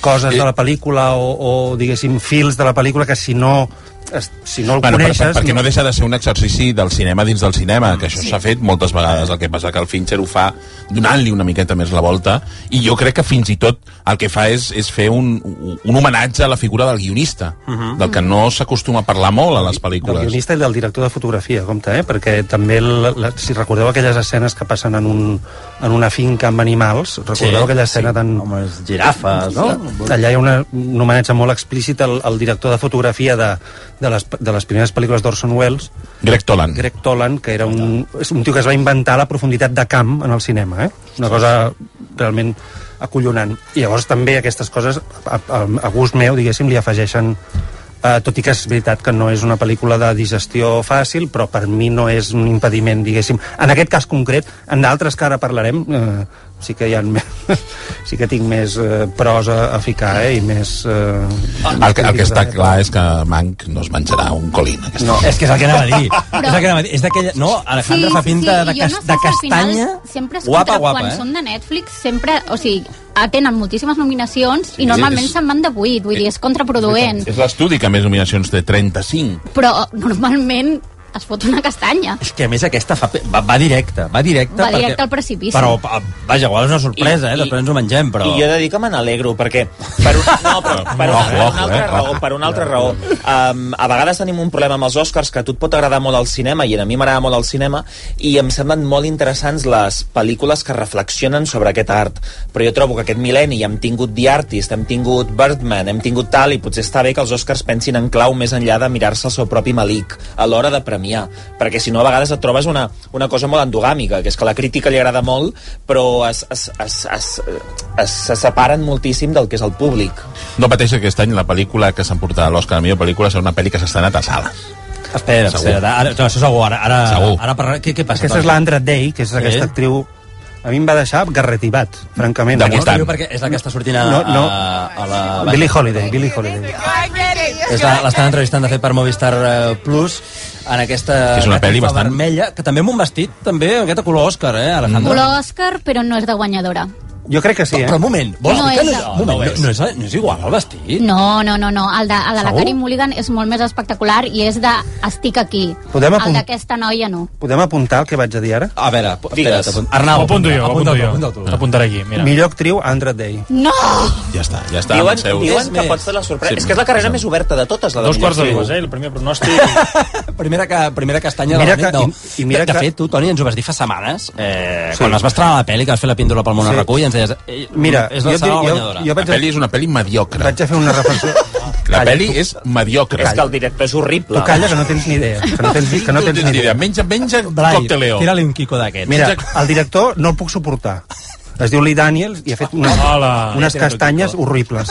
coses de la pel·lícula o, o diguéssim, fils de la pel·lícula que si no, es, si no el Bueno, per, coneixes... per, perquè no deixa de ser un exercici del cinema dins del cinema, que això s'ha fet moltes vegades, el que passa que el Fincher ho fa donant-li una miqueta més la volta, i jo crec que fins i tot el que fa és, és fer un, un homenatge a la figura del guionista, Mhm. del que no s'acostuma a parlar molt a les pel·lícules. Del guionista i del director de fotografia, compte, eh? Perquè també, la, la, si recordeu aquelles escenes que passen en, un, en una finca amb animals, recordeu Sí, aquella escena sí, tan... Amb les girafes, no? Allà hi ha una, un homenatge molt explícit al, al director de fotografia de, de, les, de les primeres pel·lícules d'Orson Welles. Greg Toland. Greg Toland, que era un, és un tio que es va inventar la profunditat de camp en el cinema, eh? Una cosa realment acollonant. I llavors també aquestes coses, a, a, a gust meu, diguéssim, li afegeixen Uh, tot i que és veritat que no és una pel·lícula de digestió fàcil, però per mi no és un impediment, diguéssim. En aquest cas concret, en d'altres que ara parlarem, eh, sí que hi ha més, sí que tinc més eh, pros a, a ficar, eh, i més... Eh, El que, el que està clar és que Manc no es menjarà un colín. Aquesta. No. És que és el que anava a dir. Però... És el que anava a dir. És d'aquella... No, Alejandra sí, fa pinta sí, i de, jo cas, no sé de si al final castanya. sempre es Guapa, guapa, guapa, quan eh? són de Netflix, sempre, o sigui, ah, tenen moltíssimes nominacions Sí, i normalment és- se'n van de 8, vull dir, és contraproduent. És l'estudi que més nominacions té, 35. Però normalment es fot una castanya. És que a més aquesta fa, pe- va, va directa, va directa. Va directe perquè, al precipici. Però, pa- vaja, igual és una sorpresa, I- eh? i- Després ens ho mengem, però... I jo he de dir que me n'alegro, perquè per, un, no, però, per, una, per una altra raó, per una altra raó um, a vegades tenim un problema amb els Oscars que a tu et pot agradar molt el cinema, i a mi m'agrada molt el cinema, i em semblen molt interessants les pel·lícules que reflexionen sobre aquest art. Però jo trobo que aquest mil·lenni hem tingut The Artist, hem tingut Birdman, hem tingut tal, i potser està bé que els Oscars pensin en clau més enllà de mirar-se el seu propi malic a l'hora de premiar, perquè si no a vegades et trobes una, una cosa molt endogàmica, que és que la crítica li agrada molt, però es, es, es, es, es, se separen moltíssim del que és el públic. No pateixi que aquest any la pel·lícula que s'emportarà l'Òscar a la millor pel·lícula serà una pel·li que s'ha estrenat a sales. Espera, espera, ara, no, això segur, ara, ara, Segur. Ah, ara parlarà, què, què passa? Aquesta és Toni? l'Andra Day, que és aquesta Sí. actriu... A mi em va deixar garretivat, francament. D'aquí està. Perquè és la que està sortint a, No, no. a, a la... Billie Holiday, Billie Holiday. És la- L'estan entrevistant, de fet, per Movistar eh, Plus en aquesta... Que és una catifa pel·li bastant- Vermella, que també amb un vestit, també, aquest color Òscar, eh, Alejandro? Color Òscar, però no és de guanyadora. Jo crec que sí, eh? Però, un moment, vols No dir que és no, de- és, un moment, no, no, és, no és igual el vestit? No, no, no, no. El de, el de la Segur? Carey Mulligan és molt més espectacular i és de estic aquí. Podem apunt- El d'aquesta noia no. Podem apuntar el que vaig a dir ara? A veure, Digues. espera't, apunt- Arnau, Ho apunto jo, ho apunta apunto tu, jo. apunta tu. Apuntaré aquí, mira. Millor actriu, Andra Day. No! Ja està, ja està. Diuen, avanceu. diuen que pot fer la sorpresa. Sí, és que és la carrera més oberta de totes, la de Dos quarts de millor dues, actriu. eh? El primer pronòstic... primera, que, primera castanya Mira de la que- nit, no. i- i mira de, de que- fet, tu, Toni, ens ho vas dir fa setmanes, eh, Sí. sí. quan es va estrenar la pel·li, que vas fer la píndola pel món sí. Sí. a recull, i ens deies... Eh, és la serà la guanyadora. la pel·li és una pel·li mediocre. Vaig a fer una reflexió. La pel·li és mediocre. És que el director és horrible. Tu calla, que no tens ni idea. Que no tens, que no tens ni idea. Menja, menja Blai, cocteleo. tira-li un quico d'aquest. Mira, el director no el puc suportar. Es diu Lee Daniels i ha fet unes, Hola. unes castanyes horribles.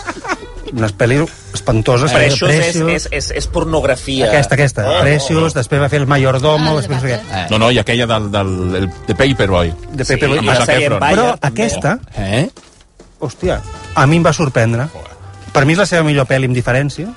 Unes pel·lis espantoses. Precious, és, Precious. és, és, és pornografia. eh, Aquesta, aquesta. Oh. Precious, després va fer el Mayordomo, Ah, després... no sé què. Eh. No, no, i aquella del, del, del de Paperboy. de Pepe sí, Però aquesta, eh? hòstia, a mi em va sorprendre. Per mi és la seva millor pel·li, amb diferència.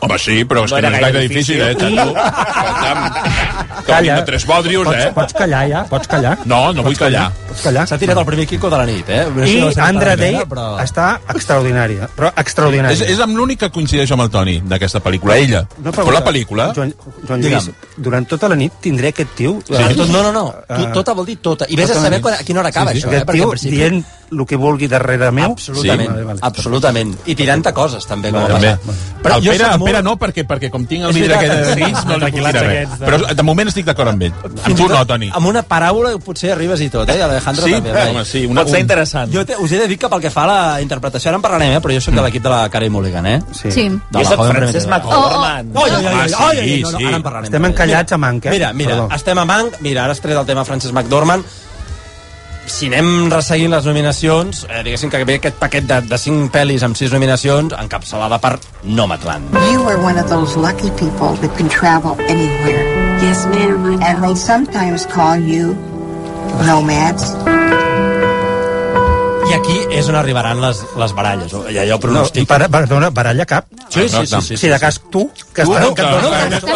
Home, sí, però és No que era no és gaire gaire difícil, eh, difícil. xato? Calla. Calla. Tres bodrios, Pots, eh? pots callar ja, pots callar. No, no vull callar. Pots callar. S'ha tirat el primer quico de la nit, eh? No sé si I no s'ha Andra parat, eh, Day però- està extraordinària, però extraordinària. És, és amb l'únic que coincideix amb el Toni d'aquesta pel·lícula, ella. No, però la pel·lícula... Joan, Joan Lluís, durant tota la nit tindré aquest tio... Sí. Tot- no, no, no. eh, Tu- tota vol dir tota. I vés a tota la saber nit. quan- a quina hora acaba això, eh? Aquest Perquè tio en principi- dient el que vulgui darrere meu... Absolutament, Vale, vale. absolutament. I tirant-te coses, també, com Vale, ha també. passat. el jo Pere, soc el molt- Pere no, perquè, perquè com tinc el És vidre veritat, aquest de sí. mig, no li puc Tranquil·lats tirar res. aquests de- Però de moment estic d'acord amb ell. Amb tu no, Toni. Amb una paraula potser arribes i tot, eh? Alejandro Sí? també. Home, sí, una- Pot ser un- interessant. Jo te, us he de dir que pel que fa a la interpretació, ara en parlarem, eh? però jo sóc de l'equip de la Carey Mulligan, eh? Sí. De la oh. joven prometedora. Oh, Ah, oh, oh, oh, oh, oh, oh, no, no, ara en parlarem. Estem encallats a Manc, eh? Mira, mira, Perdó. estem a Manc, mira, ara has tret el tema Frances McDormand, si anem resseguint les nominacions, eh, diguéssim que ve aquest paquet de, de 5 pel·lis amb 6 nominacions, encapçalada per Nomadland. You are one of those lucky people that can travel anywhere. Yes, ma'am. And they sometimes call you nomads. I aquí és on arribaran les, les baralles. o- Ja jo No, pronostico. para, perdona, baralla cap. Sí, sí, sí, sí, sí, Si de cas tu, que Tu, estàs no, al cantó, que- no? que- que-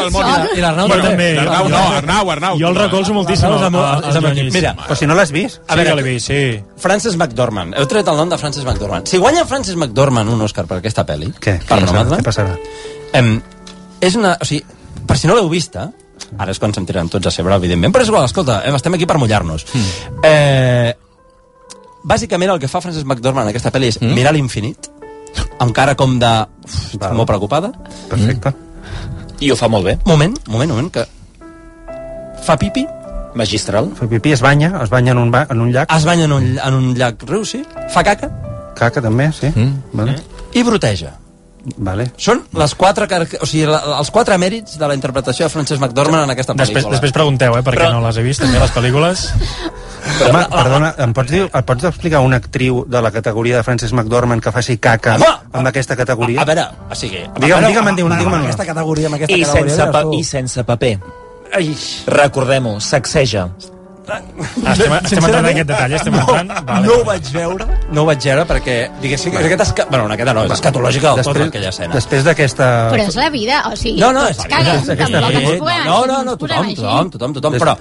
que- I l'Arnau Bueno, també. també. L'Arnau no, Arnau, Arnau. Jo el recolzo moltíssim. Arnau és amb- al- al és amb Joan equip. Lluís. Mira, Però si no l'has vist. Ah, A veure, sí que l'he vist, sí. Frances McDormand. Heu tret el nom de Frances McDormand. Si guanya Frances McDormand un Òscar per aquesta pel·li, què? per passarà? Nomadland, Què passarà? Em, és una... O sigui, per si no l'heu vista, ara és quan se'm tiren tots a sobre, evidentment, però és igual, escolta, em, estem aquí per mullar-nos. Mm. Eh, bàsicament el que fa Frances McDormand en aquesta pel·li és mm. mirar l'infinit, amb cara com de... Uf, estic molt preocupada. Perfecte. I ho fa molt bé. Moment, moment, moment, que fa pipi, Magistral. Fa pipí, es banya, es banya en un, ba en un llac. es banya en un, en un llac riu, sí, fa caca Eh? Caca, també, sí. Mm. Vale. i broteja. Vale. Són les quatre, car- o sigui, la, els quatre mèrits de la interpretació de Frances McDormand en aquesta Després, pel·lícula. després pregunteu, eh, per què Però- no les he vist, també, les pel·lícules. Home, perdona, em pots, dir, em pots explicar una actriu de la categoria de Frances McDormand que faci caca Home! amb aquesta categoria? A veure, o sigui... Digue'm, Però- digue'm, en diu, Amb digue'm. Aquesta categoria, amb aquesta I categoria... sense, veus pa tu. I sense paper. Recordem-ho, sacseja. Ah, estem, estem entrant en aquest detall, estem entrant... No, vale, no ho vaig veure, no ho vaig veure perquè, diguéssim, és aquesta... Esca... Bueno, una aquesta no, és escatològica del tot, aquella escena. Després d'aquesta... Però és la vida, o sigui... No, no, és tots caguen, aquesta- tampoc ens aquesta- podem- No, no, ens no, posem tothom, així. tothom, tothom, tothom, però...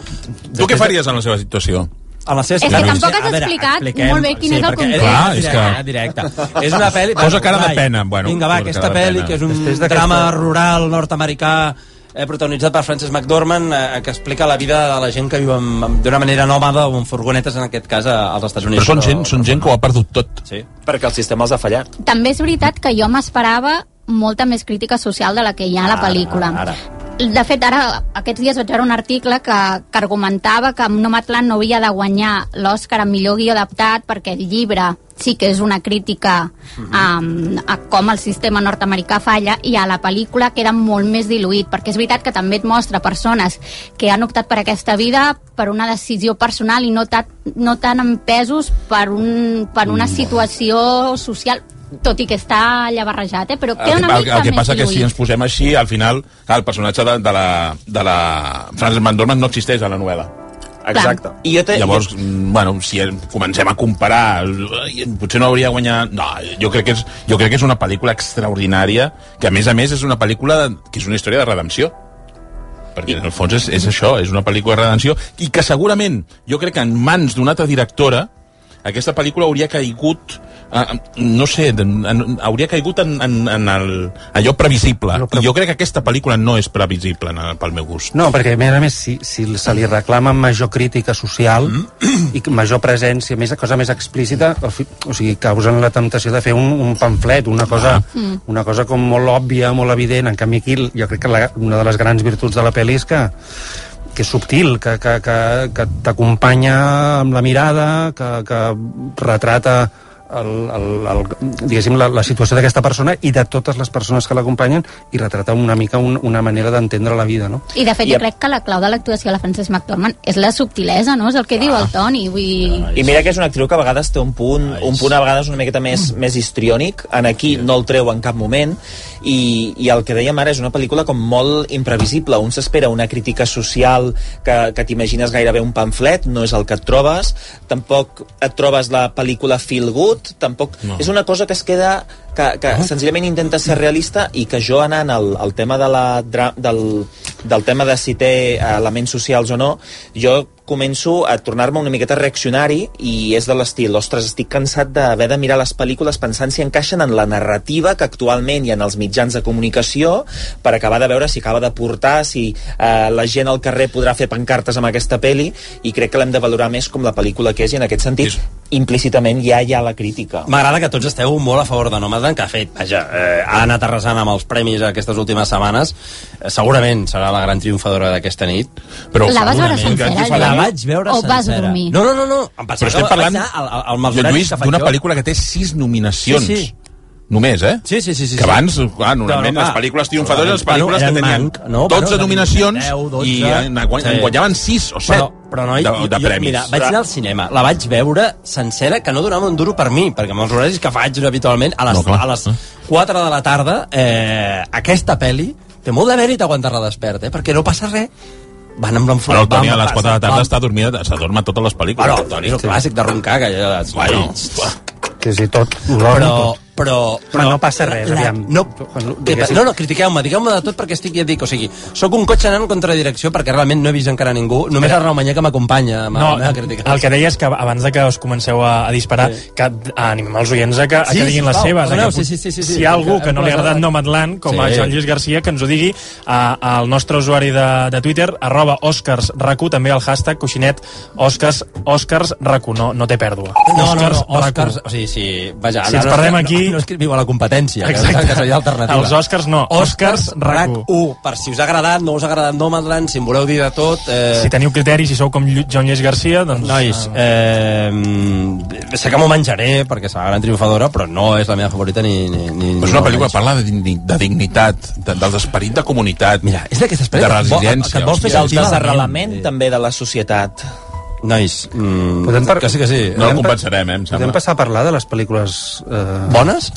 Tu què faries en la seva situació? En la seva És que situació- tampoc has A veure, explicat expliquem- molt bé quin és el perquè context. Clar, és que- directe, directe. És una pel·li... Posa cara de Ai, pena, bueno, Vinga, posa va, cara aquesta de pel·li, pena. que és un Després d'aquesta- drama rural nord-americà eh, protagonitzat per Frances McDormand, eh, que explica la vida de la gent que viu amb- amb- d'una manera nòmada o amb furgonetes, en aquest cas, a- als Estats Units. Però són gent, són gent que ho ha perdut tot. Sí. Perquè el sistema els ha fallat. També és veritat que jo m'esperava molta més crítica social de la que hi ha a la pel·lícula. Ara. De fet, ara, aquests dies vaig veure un article que, que argumentava que Nomadland no havia de guanyar l'Oscar a millor guió adaptat perquè el llibre sí que és una crítica Mhm. um, a com el sistema nord-americà falla i a la pel·lícula queda molt més diluït perquè és veritat que també et mostra persones que han optat per aquesta vida per una decisió personal i no, ta, no tan empesos per, un, per Mm. una situació social tot i que està allà barrejat, eh? però El queda que, una el, mica el que més passa que diluït. si ens posem així, al final, clar, el personatge de, de la, de la Frances McDormand no existeix a la novel·la. Exacte. I jo te- Llavors, mm, bueno, si en- comencem a comparar, eh, potser no hauria de guanyar... No, jo crec, que és, jo crec que és una pel·lícula extraordinària, que a més a més és una pel·lícula de- que és una història de redempció. Perquè en el fons és, és això, és una pel·lícula de redempció i que segurament, jo crec que en mans d'una altra directora, aquesta pel·lícula hauria caigut eh, no sé, en, en, hauria caigut en, en, en el, allò previsible. I jo crec que aquesta pel·lícula no és previsible en, pel meu gust. No, perquè a més a més, si, si se li reclama major crítica social mm. i major presència, més cosa més explícita, al fi- o sigui, causen la temptació de fer un, un pamflet, una cosa, Ah. Mm. una cosa com molt òbvia, molt evident. En canvi, aquí jo crec que la, una de les grans virtuts de la pel·li és que que és subtil, que, que, que, que t'acompanya amb la mirada, que, que retrata el, el, el, diguéssim, la, la situació d'aquesta persona i de totes les persones que l'acompanyen i retrata una mica un, una manera d'entendre la vida, no? I de fet jo crec que la clau de l'actuació de la Frances McDormand és la subtilesa, no? És el que diu Ah. el Toni, vull dir... I mira que és una actriu que a vegades té un punt, un punt a vegades una miqueta més, més histriònic, en aquí no el treu en cap moment, i, i el que dèiem ara és una pel·lícula com molt imprevisible, un s'espera una crítica social que, que t'imagines gairebé un pamflet, no és el que et trobes, tampoc et trobes la pel·lícula feel good, tampoc... No. És una cosa que es queda que, que Ah. senzillament intenta ser realista i que jo anant al, al tema de la, dra- del, del tema de si té eh, elements socials o no, jo començo a tornar-me una miqueta reaccionari i és de l'estil, ostres, estic cansat d'haver de mirar les pel·lícules pensant si encaixen en la narrativa que actualment hi ha en els mitjans de comunicació per acabar de veure si acaba de portar, si eh, la gent al carrer podrà fer pancartes amb aquesta peli i crec que l'hem de valorar més com la pel·lícula que és i en aquest sentit implícitament ja hi ha la crítica. M'agrada que tots esteu molt a favor de Nomadland, que ha fet, vaja, eh, ha anat arrasant amb els premis aquestes últimes setmanes. Eh, segurament serà la gran triomfadora d'aquesta nit. Però eh, La vas veure segurament- sencera, Joan? La vaig veure O sencera. vas dormir? No, no, no, no. Em pensava Però estem que parlant, vaig anar al, al, al jo, maldorat Lluís, que faig d'una jo. pel·lícula que té sis nominacions. Sí, sí. Només, eh? Sí, sí, sí. sí que abans, clar, No, normalment, no, no, clar. les pel·lícules triomfadores, les Bueno, pel·lícules eren que tenien manc, no, però 12 tenien nominacions 10, 12, i en, guany, sí. en guanyaven 6 o 7 Però, però no, de, jo- de jo, premis. Mira, vaig anar al cinema, la vaig veure sencera, que no donava un duro per mi, perquè amb els horaris que faig habitualment, a les, No, no, clar. a les 4 de la tarda, eh, aquesta peli té molt de mèrit aguantar-la despert, eh, perquè no passa res. Van amb l'enfocat. Però el Toni a les 4 de la tarda vam- està dormint, s'adorm a totes les pel·lícules. Bueno, el Toni, és el clàssic de roncar, que ja... Bueno, Que si tot... però, però, però no passa res, eh? aviam. No, eh, diguéssim. no, no, critiqueu-me, digueu-me de tot perquè estic, ja et dic, o sigui, sóc un cotxe anant en contradirecció perquè realment no he vist encara ningú, només el Raumanyer que m'acompanya amb No, la meva crítica. el que deia és que abans de que us comenceu a, a disparar, sí. que animem els oients a que, a Sí, que diguin les sisplau, seves. a perdoneu, que, pot- sí, sí, sí, sí, si hi ha algú que que no hem li ha agradat posat- Nomadland, com a Sí. Joan Lluís Garcia, que ens ho digui a- al nostre usuari de, de Twitter, arroba OscarsRacu, també el hashtag coixinet Oscars, OscarsRacu, no, no té pèrdua. No, no, no, Oscars RAC1. Oscars, o sigui, si, vaja, Si ens no- perdem no- aquí- No, no escriviu a la competència, Exacte. que, que seria alternativa. Els Oscars no, Oscars, Oscars RAC RAC1. 1. Per si us ha agradat, no us ha agradat Nomadland, si en voleu dir de tot... Eh... Si teniu criteris, si sou com Llu- Joan Lluís Garcia, doncs... Nois, eh, sé que m'ho menjaré perquè serà gran triomfadora, però no és la meva favorita ni... ni, ni Però és una pel·lícula que parla de, digni, de dignitat, de, dels esperit de comunitat. Mira, és d'aquest De resiliència. Del desarrelament també de la societat. Nois, mm, Podem par- que sí, que sí. No el Podem pa- compensarem, eh, em Podem passar a parlar de les pel·lícules... Eh... Bones?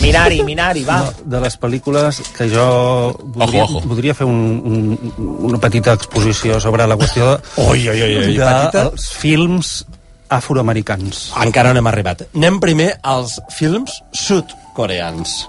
Minari, Minari, va. No, de les pel·lícules que jo voldria, Ojo, ojo. voldria fer un, un, una petita exposició sobre la qüestió de, Ui, ui, ui, ui. de Petita? els films afroamericans. Encara no hem arribat. Anem primer als films sud-coreans.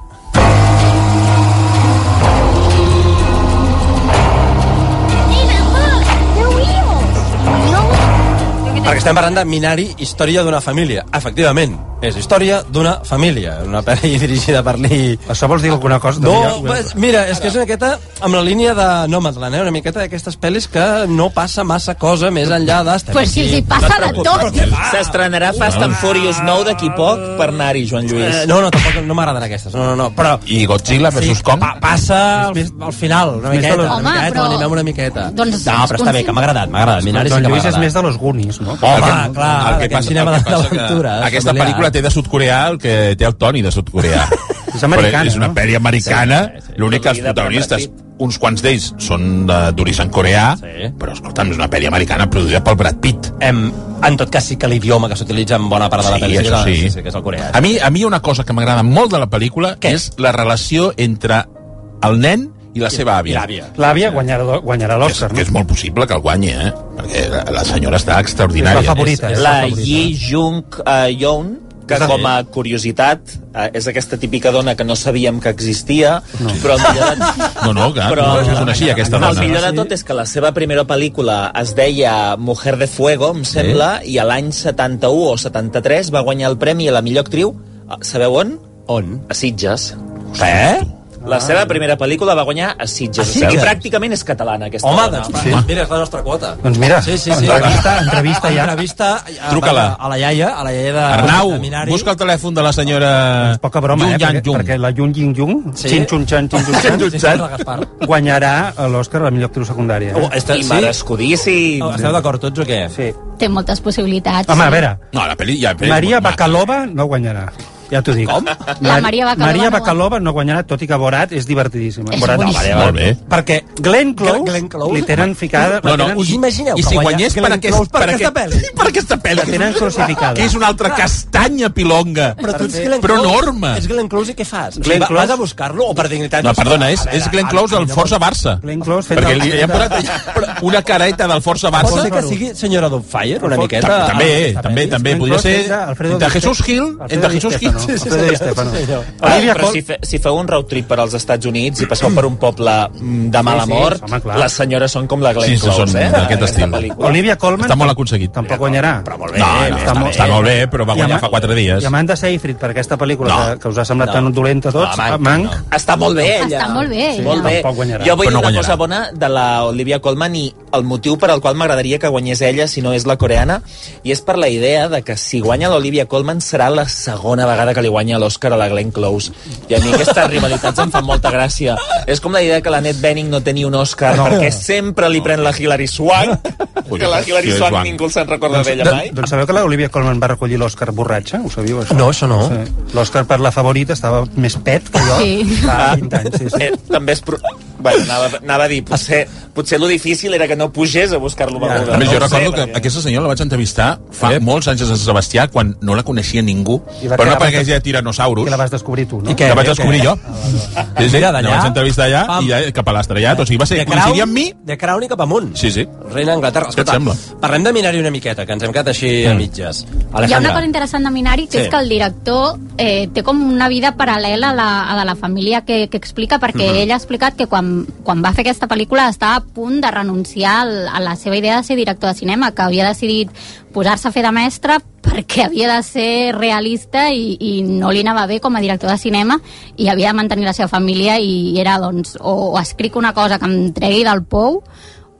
Perquè estem parlant de Minari, història d'una família. Efectivament, és història d'una família. Una pel·li dirigida per Lee... Això vols dir alguna cosa? No, pues, mira, és que és una miqueta amb la línia de Nomadland, eh? una miqueta d'aquestes pel·lis que no passa massa cosa més enllà d'estar Pues sí, sí, passa de tot. S'estrenarà Fast and Furious 9 d'aquí poc per anar-hi, Joan Lluís. Eh, no, no, tampoc no m'agraden aquestes. No, no, no, però... I Ah, Godzilla versus sí, Kong? Pa passa al, al final, una més de miqueta. lo- Una Home, miqueta, però- Animem una miqueta. Doncs no, però està bé, que m'ha agradat, m'ha agradat. Minari sí Joan que m'ha Lluís és agradat. més de los Goonies, no? Home, clar, d'aquest cinema de l'aventura, de Aquesta familiar. pel·lícula té de sud-coreà el que té el Toni de sud-coreà. és americana, És una no? pel·li americana, l'únic que els Produïda per protagonistes, Brad uns quants d'ells són de- d'origen coreà, però escolta'm, és una pel·li americana produïda pel Brad Pitt. Em, en tot cas sí que l'idioma que s'utilitza en bona part de la Sí, pel·lícula això sí. sí, sí, que és el coreà. A mi, a mi hi ha una cosa que m'agrada molt de la pel·lícula Què? és la relació entre el nen i la seva àvia. L'àvia guanyarà, guanyarà l'Òscar, Que és molt possible que el guanyi, eh? Perquè la, la senyora està extraordinària. La Yi Jung eh, Yeon, que com a curiositat eh, és aquesta típica dona que no sabíem que existia, no. però el millor de... No, no, clar, Però- no es coneixia aquesta el dona. millor de tot és que la seva primera pel·lícula es deia Mujer de Fuego, em sembla, i a l'any 71 o 73 va guanyar el premi a la millor actriu, eh, sabeu on? On? A Sitges. Eh? La seva primera pel·lícula va guanyar a Sitges. A O sigui, Sitges? pràcticament és catalana, aquesta Home, dona. doncs, sí. mira, és la nostra quota. Doncs mira, sí, sí, sí. entrevista- entrevista ja. Entrevista a, Truca-la. Ah, A, la iaia, a la iaia de, Arnau, de Minari. busca el telèfon de la senyora... És poca broma, eh? Yang Perquè, perquè la Yun Ying Yung, Sí. sí. Chin Chun Chan, Chin Chun Chan, Chin Chun Chan. guanyarà a l'Òscar la millor actriu secundària. Oh, està- I sí? merescudíssim. Oh, esteu d'acord tots o què? Sí. Té moltes possibilitats. Home, a veure, No, la pel·li... Ja, Maria Bacalova no guanyarà. Ja t'ho dic. Com? La Maria Bacalova Maria no Bacalova no guanyarà, tot i que Borat és divertidíssima. És Borat, boníssima. Molt bé. Perquè Glenn Close, Glenn Close li tenen ficada... No, no, la tenen- us imagineu I si que guanya guanyés per Glenn aquest- Close per per aquest- aquesta pel·li? Per aquesta pel·li. La tenen crucificada. Que és una altra castanya pilonga, Però tu ets Glenn però Close. enorme. És Glenn Close i què fas? O sigui, Glenn va- Close- Vas a buscar-lo o per dignitat? No, perdona, eh, és, és Glenn Close al Força Barça. Glenn Close fent Perquè el- li, li han posat allà una careta del Força Barça. Pot ser que sigui senyora Dubfire, una miqueta... Ta- També, Ah, també, també. Glenn Podria Close ser és Alfredo entre Di Jesús Stefano. Gil, entre Jesús Gil. Ah, però si, fe, si feu un road trip per als Estats Units i passeu per un poble mm, de mala Sí, sí, mort, home, clar. les senyores són com la Glenn Sí, sí, Close, són eh? d'aquest Aquesta estil. pel·lícula. Olivia Colman... Està molt aconseguit. Tampoc guanyarà. Però molt bé, No, no, està molt- està molt bé, però va guanyar fa quatre dies. I Amanda Seyfried, per aquesta pel·lícula No. que, que us ha semblat No. tan dolenta a tots, No, no, Mank, Mank... no. Està molt bé, ella. Està molt bé, Sí, ella. molt bé. Tampoc guanyarà. Jo vull Però dir no una guanyarà. cosa bona de la Olivia Colman i el motiu per al qual m'agradaria que guanyés ella, si no és la coreana, i és per la idea de que si guanya l'Olivia Colman serà la segona vegada que li guanya l'Oscar a la Glenn Close. I a mi aquestes rivalitats em fan molta gràcia. És com la idea que la Ned Benning no té ni un Oscar No. perquè sempre li pren la Hilary Swank, que la Hilary Swank ningú se'n recorda d'ella Doncs- mai. Doncs sabeu que l'Olivia Colman va recollir l'Òscar borratxa? Ho sabíeu, això? No, això no. Sí. L'Òscar per la favorita estava més pet que jo. Sí. Fa 20 anys, sí, sí. Eh, també és... Pro... Bueno, anava, anava a dir, potser, potser lo difícil era que no pugés a buscar-lo beguda. A No més, jo ho sé, recordo que perquè- aquesta senyora la vaig entrevistar fa molts anys a Sant Sebastià, quan no la coneixia ningú, I va per una quedar parella de tiranosaurus. Que la vas descobrir tu, no? I què? La vaig descobrir jo. Sí, sí, Mira, la d'allà- vaig entrevistar allà i ja cap a l'estrellat. O sigui, va ser coincidir amb mi. De Crown i cap amunt. Sí, sí. Reina Anglaterra. Què et Escolta, sembla? Mm. parlem de Minari una miqueta, que ens hem quedat així a mitges. Hi ha una cosa Alejandra. interessant de Minari, que Sí. sí. és que el director eh, té com una vida paral·lela a la, a la de la família que, que explica, perquè Mhm. ell ha explicat que quan, quan va fer aquesta pel·lícula estava a punt de renunciar al, a la seva idea de ser director de cinema, que havia decidit posar-se a fer de mestre perquè havia de ser realista i, i no li anava bé com a director de cinema i havia de mantenir la seva família i era, doncs, o, o escric una cosa que em tregui del pou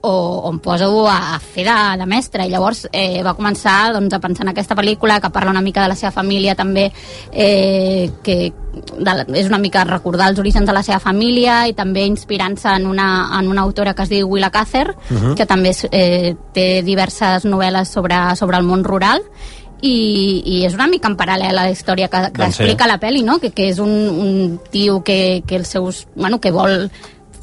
o, o em poso a, a fer de, de mestre i llavors eh, va començar doncs, a pensar en aquesta pel·lícula que parla una mica de la seva família també eh, que de, la- és una mica recordar els orígens de la seva família i també inspirant-se en, una, en una autora que es diu Willa Cather Mhm. que també és, eh, té diverses novel·les sobre, sobre el món rural i, i és una mica en paral·lel a la història que, que Doncs sí. explica la pel·li, no? que, que és un, un tio que, que, els seus, bueno, que vol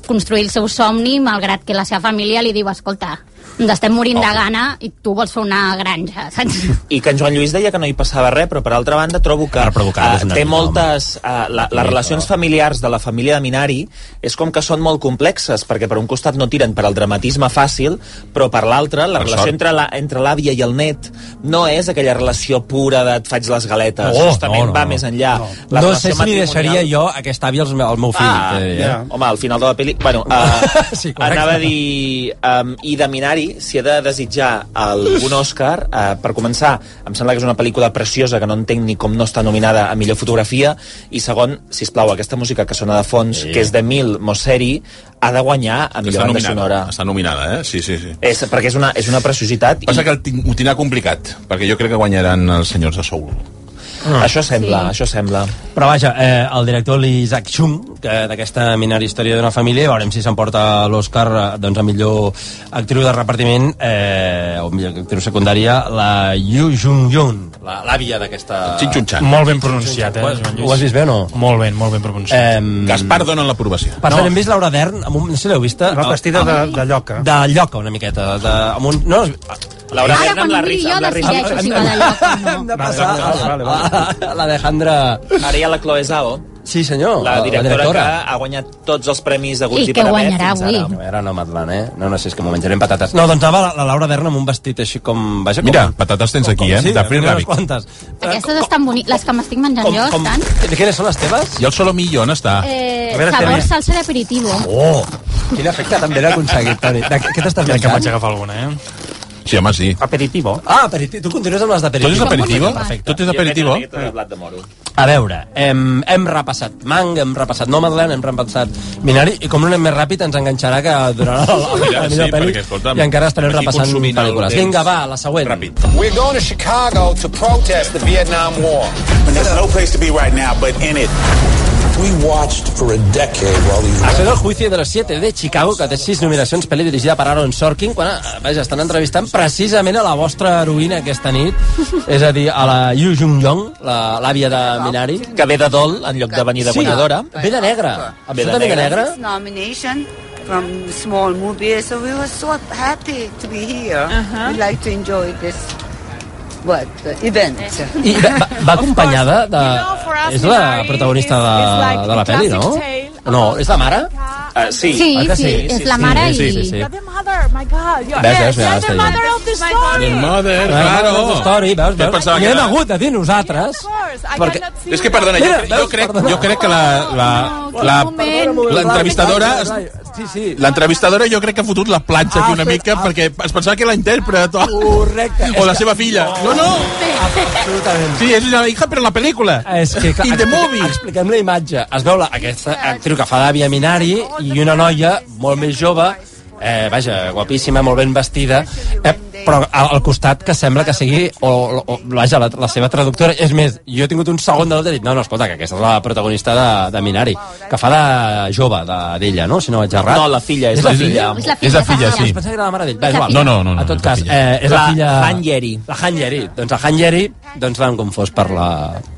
construir el seu somni, malgrat que la seva família li diu, escolta, ens estem morint Oh. de gana i tu vols fer una granja, saps? I que en Joan Lluís deia que no hi passava res, però per altra banda trobo que provocar-los eh, una té mica, moltes... eh, la, les relacions familiars de la família de Minari és com que són molt complexes, perquè per un costat no tiren per al dramatisme fàcil, però per l'altre la Per relació sort. entre la- entre l'àvia i el net no és aquella relació pura de et faig les galetes, No, justament no, no, va no. més enllà. La No sé relació si li matrimonial- deixaria jo aquesta àvia al meu, al meu fill. eh, Ah, que, ja. Home, al final de la pel·li... Bueno, uh, sí, correcte. anava a dir... Um, I de Minari, si he de desitjar algun Òscar, uh, per començar, em sembla que és una pel·lícula preciosa que no entenc ni com no està nominada a millor fotografia, i segon, si plau, aquesta música que sona de fons, sí. que és de Mil Mosseri, ha de guanyar a millor Està banda nominada, sonora. està nominada, eh? Sí, sí, sí. És, perquè és una, és una preciositat. Passa que el tin- ho tindrà complicat, perquè jo crec que guanyaran els senyors de Soul. Ah. Això sembla, sí. això sembla. Però vaja, eh, el director l'Isaac Schum, que d'aquesta minera història d'una família, veurem si s'emporta l'Oscar eh, doncs, a millor actriu de repartiment, eh, o millor actriu secundària, la Yu Jung-yun, la- l'àvia d'aquesta... Molt ben pronunciat, eh, Ah. Ho has- Joan Lluís. Ho has vist bé o no? Molt ben, molt ben pronunciat. Em, Gaspar dona l'aprovació. Per no. hem vist Laura Dern, amb un, no sé si l'heu vista... Va vestida de- de lloca. De lloca, una miqueta. De, amb un, no, Ara, quan la miri jo, decideixo si va de lloc o no. Hem de Ah, passar a la- a Ah, l'Alejandra... Ara hi ha la Chloe Zhao, Sí, senyor. la directora, Ah, directora. que ha guanyat tots els premis de Guts I i, que Paramet guanyarà fins ara. avui. A veure, no, Matlan, eh? No, no, si és que m'ho menjarem patates. No, doncs anava la, la Laura Dern amb un vestit així com... Vaja, com Mira, patates tens aquí, eh? Sí, De Free unes Rabbit. Quantes. Aquestes estan boniques. Les que m'estic menjant jo estan... Quines són les teves? I el solomillo, on Ah, està? Eh, A veure, sabor espera. salsa d'aperitivo. Oh! Quin efecte també l'ha aconseguit, Toni. De, què t'estàs Crec que menjant? vaig agafar alguna, eh? Sí, home, sí. Aperitivo. Ah, aperitivo. Tu continues amb les d'aperitivo. Tot és aperitivo? Perfecte. Tot és aperitivo? De blat de moro. A veure, hem, hem repassat Mang, hem repassat Nomadland, hem repassat Minari, i com no anem més ràpid ens enganxarà que durarà la, la, la, Mira, la millor sí, pel·li perquè, escolta'm, i encara estarem aquí repassant consumint el pel·lícules. temps. Vinga, va, la següent. Ràpid. We're going to Chicago to protest the Vietnam War. And there's no place to be right now but in it. We watched for a decade while these Això és el juicio de los siete de Chicago, que té sis nominacions, pel·li dirigida per Aaron Sorkin, quan eh, vaja, estan entrevistant precisament a la vostra heroïna aquesta nit, és a dir, a la Yu Jung Yong, la- l'àvia de Minari. Que ve de dol en lloc de venir de guanyadora. Ve de negre, absolutament de negre. This nomination from small movies, so we were so happy to be here. Uh-huh. We like to enjoy this what uh, event. I va, va- va acompanyada de... us, És la Minari protagonista de, is- is like de la the pel·li, no? classic tale No, és la mare? Uh, sí. Sí, Oi que sí, és la Sí, mare sí, i- Sí, sí, sí. Mother, my God, you're- Ves, ves, mira, the està mother of the story. Mother, claro. claro. Ah, Story, veus, Jo veus? pensava N'hi que hem era- hagut de dir nosaltres. Perquè, és que, perdona, jo, Mira, cre- jo, crec, jo crec que la... la, quin la moment. L'entrevistadora... Sí, sí. Ah, L'entrevistadora jo crec que ha fotut la platja aquí una mica perquè es pensava que la intèrpret o, Correcte. o la seva filla. No, no! Absolutament. Sí, és una hija, però en la pel·lícula. És que, clar, In the explica- movie. Expliquem la imatge. Es veu la, aquesta actriu que fa d'àvia Minari i una noia molt més jove, eh, vaja, guapíssima, molt ben vestida, eh, però al, al costat que sembla que sigui o, o, o vaja, la, la seva traductora. És més, jo he tingut un segon de l'altre i he dit, no, no, escolta, que aquesta és la protagonista de, de Minari, que fa de jove de- d'ella, no? Si no vaig errat. No, la filla, és la filla. És És la la filla, És la filla, sí. Ah, pensava que era la mare d'ell. Va, És la igual. filla. No, no, no, no, A tot és la cas, filla. eh, és la, La filla... Han Yeri. La Han Yeri. Doncs la Han Yeri, doncs l'han confós per la,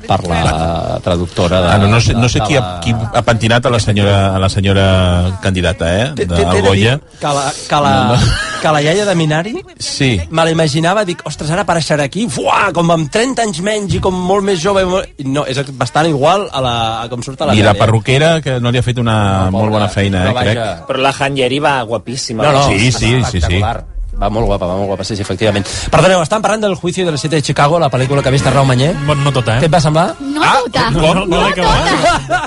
per la traductora de... Ah, no, no sé, no sé de qui, la- ha, qui ha pentinat a la senyora, a la senyora candidata, eh? De T'he de dir Goya. que la, que, la, No, no. que la iaia de Minari Sí. me la imaginava, dic, ostres, ara apareixerà aquí, fuà, com amb 30 anys menys i com molt més jove. i Molt... i No, és bastant igual a, la, a com surt a la I la sèrie. perruquera, que no li ha fet una molt bona feina, eh, però crec. vaja. Però la Han Yeri va guapíssima. No, no, Sí, sí, sí, sí. espectacular. Va molt guapa, va molt guapa, sí, sí, efectivament. Perdoneu, estan parlant del juicio de la cita de Chicago, la pel·lícula que ha vist Arnau Manyer? No, no tota, eh? Què et va semblar? No ah, tota. com? No, no,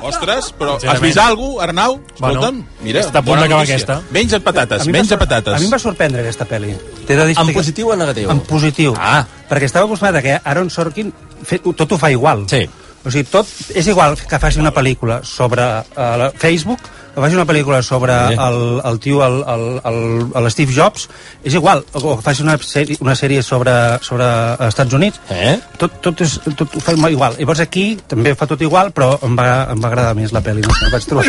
Ostres, Però has vist alguna cosa, Arnau? Escolta'm, Bueno, mira, està a punt bona d'acabar notícia. aquesta. Menja patates, A mi em va menja sor- patates. A mi em va sorprendre aquesta pel·li. T'he de dir En que- positiu o en negatiu? En positiu. Ah. Perquè estava acostumat que Aaron Sorkin fe, tot ho fa igual. Sí. O sigui, tot és igual que faci una pel·lícula sobre eh, la- Facebook, que faci una pel·lícula sobre Sí. el, el tio, el, el, el, el Steve Jobs, és igual, o o que faci una sèrie, una sèrie sobre, sobre els Estats Units, eh? tot, tot, és, tot ho fa igual. Llavors aquí també ho fa tot igual, però em va, em va agradar més la pel·li. No sé, vaig trobar...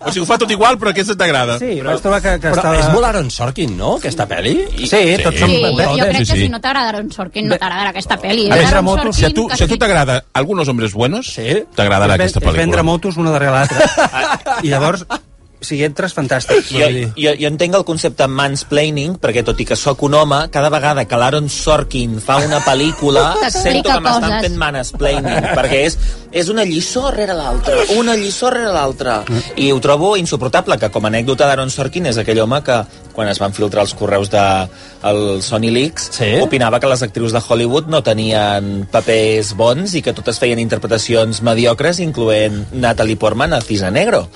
O sigui, ho fa tot igual, però aquesta t'agrada. Sí, vaig trobar que, que Però estava... és molt Aaron Sorkin, no?, aquesta pel·li? Sí, Sí. tots són- Sí, jo, jo crec que sí. si no t'agrada Aaron Sorkin, no t'agradarà aquesta pel·li. A Aaron veure, si a Sorkin, tu que si a tu sí. t'agrada Algunos Hombres Buenos, sí. t'agradarà És ven- aquesta És vendre pel·lícula. motos una darrere l'altra. I llavors, si hi entres, fantàstic. Jo, jo, jo entenc el concepte mansplaining, perquè tot i que sóc un home, cada vegada que l'Aaron Sorkin fa una pel·lícula, sento que m'estan coses. fent mansplaining, perquè és, és una lliçó rere l'altra, una lliçó rere l'altra. I ho trobo insuportable, que com a anècdota d'Aaron Sorkin és aquell home que, quan es van filtrar els correus de el Sony Leaks, sí? opinava que les actrius de Hollywood no tenien papers bons i que totes feien interpretacions mediocres, incloent Natalie Portman a Cisa Negro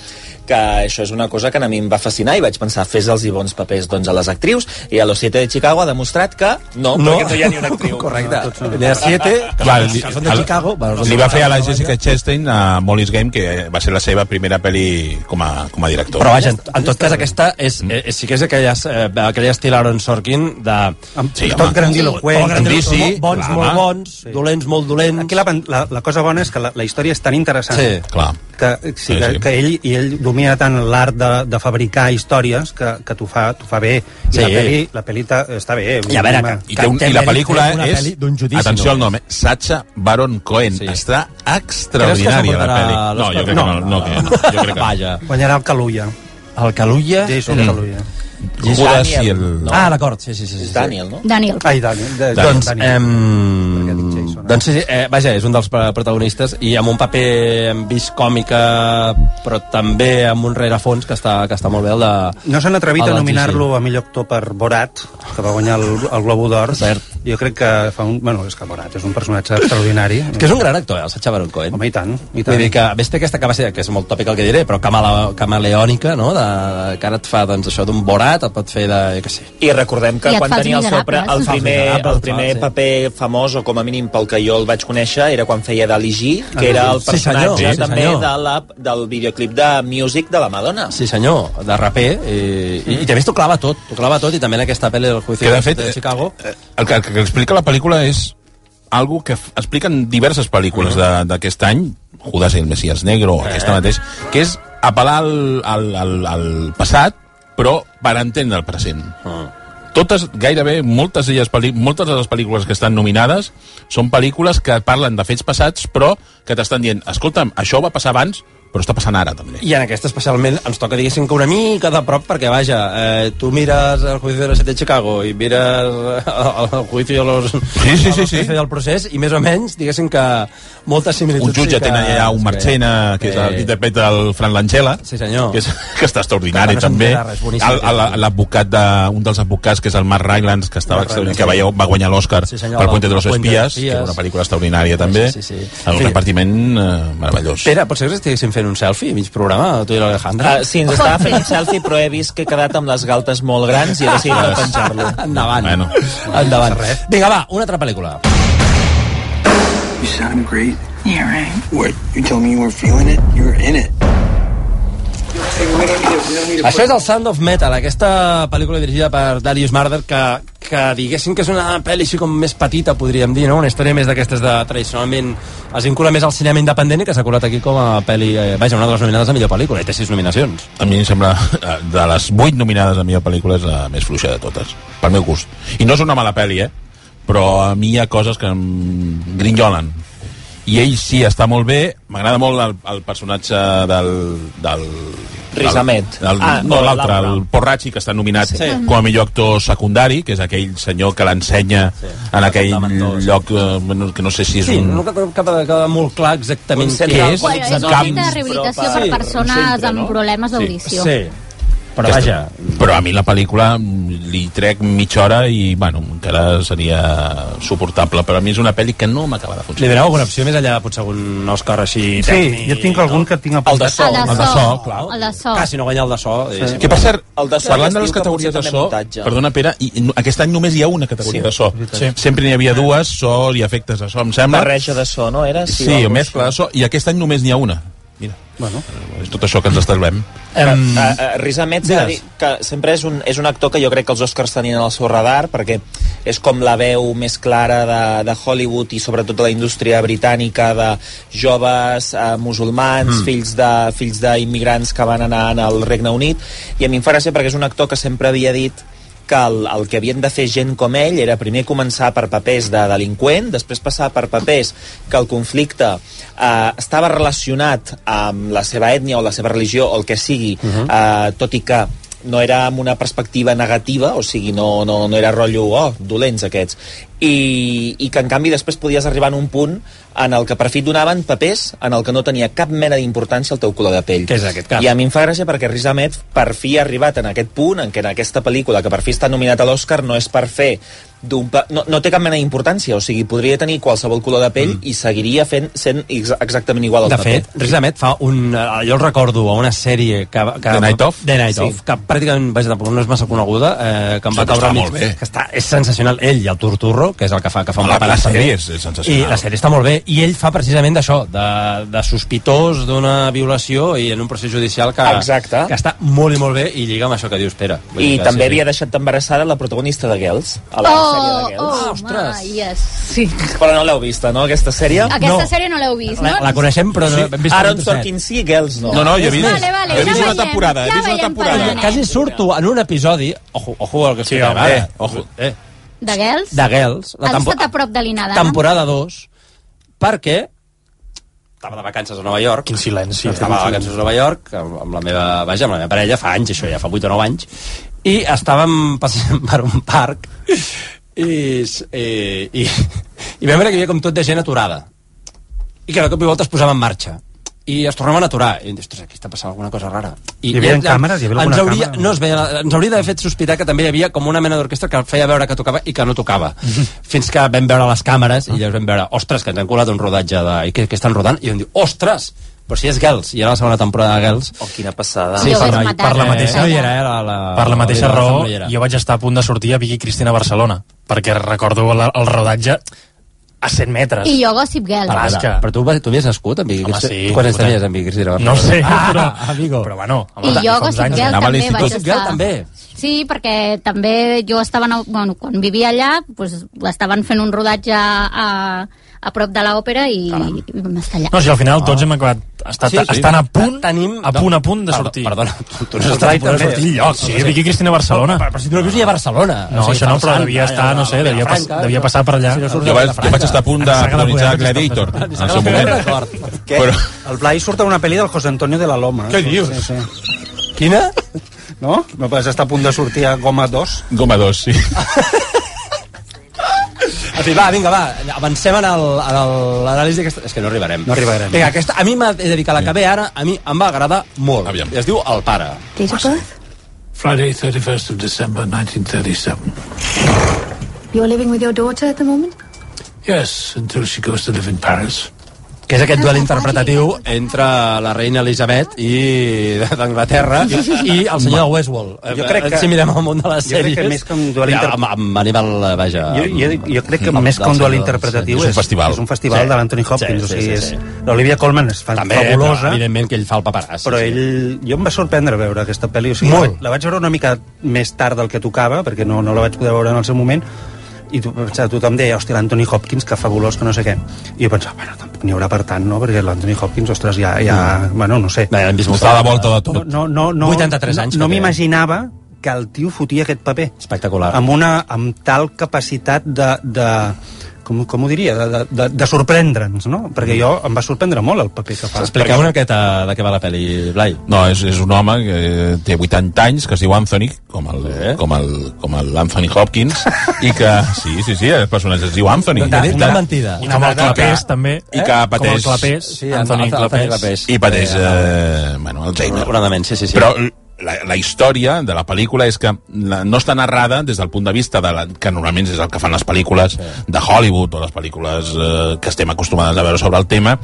que això és una cosa que a mi em va fascinar i vaig pensar, fes els i bons papers doncs, a les actrius, i a Los Siete de Chicago ha demostrat que no, no. perquè no hi ha ni una actriu. Correcte. De 7, que, Va, són- que són de el- Chicago... bueno, són Li de va Chicago, fer a la no? Jessica Chastain a Molly's Game, que va ser la seva primera pel·li com a, com a director. Però vaja, en, en tot cas aquesta és, Mm. eh, sí que és aquell, es- eh, aquell estil Aaron Sorkin de... Sí, tot home. grandiloqüent. Tot grandiloqüent, Indici, bons, clar, molt home. bons, dolents, molt dolents. Aquí la, pen- la, la cosa bona és que la, la història és tan interessant Sí. Clar. que, sí, que, sí. que ell, i ell domina tant l'art de, de fabricar històries que, que t'ho fa, t'ho fa bé. I Sí. la peli, la peli ta- està bé. eh? I, a veure, que, I, té un, i la pel·lícula és... atenció al no. nom, eh? Sacha Baron Cohen. Sí. Està extraordinària, la pel·li. s'emportarà No, jo crec que no. no, que no. Jo crec que no. Vaja. Guanyarà el Calulla. El Calulla? Jason Mm. mm. Calulla. Judas i el... Ah, d'acord, sí, sí, sí. sí, sí. Daniel, no? Daniel. Ai, Daniel. De, doncs, ehm, doncs sí, sí, eh, vaja, és un dels eh, protagonistes i amb un paper hem vist còmica però també amb un rerefons que està, que està molt bé el de... No s'han atrevit el a de- nominar-lo a millor actor per Borat, que va guanyar el, el Globo d'Or. Jo crec que fa un... Bueno, és que Borat és un personatge extraordinari. És que és un gran actor, eh, el Sacha Baron Cohen. Home, i tant. I tant. Vull dir que, a més, té aquesta capacitat, que és molt tòpic el que diré, però camala, camaleònica, no? De, de, que ara et fa, doncs, això d'un borat, et pot fer de... Jo què sé. I recordem que I et quan fa els tenia el, seu pre, el Miserables. primer, Els Miserables, el primer clar, sí. paper famós, o com a mínim pel que jo el vaig conèixer, era quan feia d'Ali G, que era el Sí, personatge senyor. Sí, també senyor. de la, del videoclip de Music de la Madonna. Sí, senyor, de raper, i, i, i també t'ho clava tot, t'ho clava tot, i també en aquesta pel·li del juicio Que, de fet, eh, de Chicago. El que, el que explica la pel·lícula és algo que f- expliquen diverses pel·lícules de- d'aquest any, Judas i el Messias Negro, eh. aquesta mateix, que és apel·lar al, al, al, al passat, però per entendre el present. Totes, gairebé, moltes, elles, pel·lí- moltes de les pel·lícules que estan nominades són pel·lícules que parlen de fets passats, però que t'estan dient, escolta'm, això va passar abans, però està passant ara, també. I en aquesta especialment ens toca, diguéssim, que una mica de prop, perquè, vaja, eh, tu mires el juicio de los siete de Chicago i mires el, el juicio de los... Sí, sí, sí, sí. del procés, i més o menys, diguéssim que moltes similituds... Un jutge sí que, Eh, té allà un Marchena, que és el que interpreta el Fran Langella, Sí, senyor. que, és, que està extraordinari Que no se'n també. entera res, boníssim. El- el- L'advocat de, un dels advocats, que és el Mark Rylance, que, estava Mark extraordinari, Rylance. que veieu, va guanyar l'Oscar Sí, senyor, per la- Puente de los Puente de los Espías, que era una Espías. pel·lícula extraordinària també. Sí, sí, sí. El Sí. repartiment eh, meravellós. Pere, potser que estiguéssim fent un selfie mig programa, tu i l'Alejandra. Ah, sí, ens estava fent un selfie, però he vist que he quedat amb les galtes molt grans i he decidit no penjar-lo. Ah, Endavant. Bueno. Endavant. Vinga, va, una altra pel·lícula. You sound great. Yeah, right. What? You told me you were feeling it? You were in it. Això és el Sound of Metal, aquesta pel·lícula dirigida per Darius Marder, que, que diguéssim que és una pel·li així com més petita, podríem dir, no? Una història més d'aquestes de tradicionalment... Es vincula més al cinema independent i que s'ha colat aquí com a pel·li... Eh, vaja, una de les nominades a millor pel·lícula, i té sis nominacions. A mi em sembla, eh, de les vuit nominades a millor pel·lícula, és la més fluixa de totes, pel meu gust. I no és una mala pel·li, eh? Però a mi hi ha coses que em grinyolen. I ell sí, està molt bé. M'agrada molt el, el personatge del... del Riz Ahmed. del- del- Ah, no, no, l'altre, l'altre. el Porrachi, que està nominat Sí. sí. com a millor actor secundari, que és aquell senyor que l'ensenya sí. en aquell lloc, eh, bueno, que no sé si és Sí, un... no queda, queda, queda molt clar exactament Un centre què al és. qual És un centre de rehabilitació per persones amb problemes d'audició. Però vaja... Però a mi la pel·lícula mm, li trec mitja hora i, bueno, encara seria suportable. Però a mi és una pel·li que no m'acaba de Li funcionar. doneu alguna opció més allà, potser algun Òscar així Sí, tècnic? jo tinc algun que tinc apuntat. El de so. El de El de so. so, clar. El de so. Ah, si no guanya el de so... Sí. Que per cert, parlant de les categories de so, perdona Pere, i, i no- aquest any només hi ha una categoria Sí, de so. Sí. Sempre n'hi havia dues, so i efectes de so, em sembla. Barreja de so, no? Era? Sí, o sí alguna mescla de so, i aquest any només n'hi ha una. Mira, doncs. bueno. és tot això que ens estalvem. Um, uh, uh, Riz Ahmed s'ha de dir digues. que sempre és un, és un actor que jo crec que els Oscars tenien al seu radar perquè és com la veu més clara de, de Hollywood i sobretot de la indústria britànica de joves uh, musulmans, Mm. mm. fills de fills d'immigrants que van anar al Regne Unit i a mi em fa gràcia perquè és un actor que sempre havia dit que que el, el que havien de fer gent com ell era primer començar per papers de delinqüent, després passar per papers que el conflicte eh, estava relacionat amb la seva ètnia o la seva religió o el que sigui, uh Mhm. -huh. eh, tot i que no era amb una perspectiva negativa, o sigui, no, no, no era rotllo, oh, dolents aquests, i, i que en canvi després podies arribar en un punt en el que per fi et donaven papers en el que no tenia cap mena d'importància el teu color de pell. Que és aquest cas. I a mi em fa gràcia perquè Riz Ahmed per fi ha arribat en aquest punt en què en aquesta pel·lícula que per fi està nominat a l'Oscar no és per fer d'un pa... no, no té cap mena d'importància, o sigui, podria tenir qualsevol color de pell mm. i seguiria fent, sent ex exactament igual al De paper. fet, Riz Ahmed fa un... eh, Jo el recordo a una sèrie que... que The Night Of? The Night Sí. Of, que pràcticament, vaja, tampoc no és massa coneguda, eh, que em va Sí, que caure... està a mi- molt bé. Que està, és sensacional. Ell i el Turturro, que és el que fa... Que fa Ah, La- molt la parat també. sèrie és- és sensacional. I la sèrie està molt bé. I ell fa precisament d'això, de, de sospitós d'una violació i en un procés judicial que... Exacte. Que està molt i molt bé i lliga amb això que dius, Pere. Vull I dir que també sí. havia deixat embarassada la protagonista de Girls, a la sèrie de Girls. Ah, oh, ostres. My, yes. Sí. Però no l'heu vista, no, aquesta sèrie? Aquesta sèrie no l'heu vist, no? sí. hem vist Aaron un trosset. Sorkin sí, Girls no. No, no, jo he És vist- més, Vale, vale, He ja vist una veiem, temporada, he ja vist una veiem per on anem. Quasi surto en un episodi... Ojo, ojo al que sí, home, ara. eh, ojo. Eh, De Gels? de Girls, la Has tempo estat a prop de l'Inadana? temporada 2, perquè estava de vacances a Nova York. Quin silenci. eh? Estava de vacances a Nova York amb, amb la meva, vaja, amb la meva parella, fa anys, això ja fa 8 o 9 anys, i estàvem passejant per un parc i, i, i, i vam veure que hi havia com tot de gent aturada i que de cop i volta es posava en marxa i es tornaven a aturar i vam dir, ostres, aquí està passant alguna cosa rara Hi i, havia i- càmeres? Hi havia ens alguna hauria, càmera? no es veia, la- ens hauria d'haver fet sospitar que també hi havia com una mena d'orquestra que feia veure que tocava i que no tocava fins que vam veure les càmeres i llavors vam veure, ostres, que ens han colat un rodatge de... i que, que estan rodant, i vam dir, ostres però si és Girls, i era la segona temporada de Girls oh, quina passada Jo vaig matar per la mateixa no hi era, eh, la, la, Per la mateixa la- la- raó, no hi era. jo vaig estar a punt de sortir a Vicky Cristina a Barcelona, perquè recordo la, el rodatge a 100 metres. I jo Gossip Girl. Però, Ah, és que- però tu, vas- tu havies nascut amb Vicky Home, Cristina? sí, Quants anys escolta. tenies amb Vicky Cristina? No sé, Ah, però, amigo. però bueno... I jo, Gossip Girl, Anava a també vaig l'institut. estar. Girl, també. Sí, perquè també jo estava... en el- Bueno, quan vivia allà, pues, estaven fent un rodatge a, a prop de l'òpera i, i vam estar allà. No, si al final tots hem acabat estat, Sí, sí, sí. sí. estan a punt, Tenim- a punt, a punt de Perdó- sortir. perdona, tu- tu no Però estàs a punt de també. sortir enlloc. Sí, Vicky Cristina a Barcelona. Però, però si tu no vius ni a Barcelona. No, això no, però devia estar, no sé, devia, pas, devia passar per allà. Jo vaig, jo vaig estar a punt de protagonitzar Gladiator, en el seu moment. Què? Però... El Blai surt a una pel·li del José Antonio de la Loma. Què dius? Sí, sí. Quina? No? Vas estar a punt de sortir a Goma 2. Goma 2, sí. En fi, va, vinga, va, avancem en el- en el- l'anàlisi aquesta... És que no arribarem. No arribarem. Vinga, aquesta, a mi m'ha de dedicar la que ve ara, a mi em va agradar molt. Aviam. Es diu El Pare. Date of birth? Friday, 31st of December, 1937. You're living with your daughter at the moment? Yes, until she goes to live in Paris. Que és aquest duel interpretatiu entre la reina Elisabet i d'Anglaterra i el senyor de Westworld. Eh, Jo crec que- Si mirem el món de les Jo crec que sèries... més que un duel inter- amb, amb Aníbal, eh, vaja... Jo, jo, jo crec que amb- més que Mm. del un duel senyor- interpretatiu és, és un festival Sí. de l'Anthony Hopkins. Sí, sí, o sigui, sí, sí. és- L'Olivia Colman és fan També, fabulosa. però evidentment que ell fa el paperàs. però sí, sí. ell... Eh, Jo em va sorprendre veure aquesta pel·li. O sigui, Molt. La, la vaig veure una mica més tard del que tocava, perquè no, no la vaig poder veure en el seu moment, i tu, pensava, tothom deia, hòstia, l'Anthony Hopkins, que fabulós, que no sé què. I jo pensava, bueno, tampoc n'hi haurà per tant, no? Perquè l'Anthony Hopkins, ostres, ja... eh. ja Mm. bueno, no sé. Bé, l'hem vist Està moltes a la vegades. volta de tot. No, no, no, 83 no, anys No que té. m'imaginava que el tio fotia aquest paper. Espectacular. Amb, una, amb tal capacitat de... de com, com ho diria, de, de, de, de sorprendre'ns, no? Perquè jo em va sorprendre molt el paper que fa. Expliqueu una miqueta de què va la pel·li, Blai. No, és, és un home que té 80 anys, que es diu Anthony, com el, eh? com el, com el Anthony Hopkins, i que... Sí, sí, sí, el personatge es diu Anthony. Una- una mentida. I I com el Clapés, també. eh? I que Com el pateix... Clapés, el- Anthony el- el- Clapés. I pateix, eh, bueno, Alzheimer. Una demència, sí, sí. Però la, la història de la pel·lícula és que la- no està narrada des del punt de vista de la, que normalment és el que fan les pel·lícules de Hollywood o les pel·lícules eh, que estem acostumades a veure sobre el tema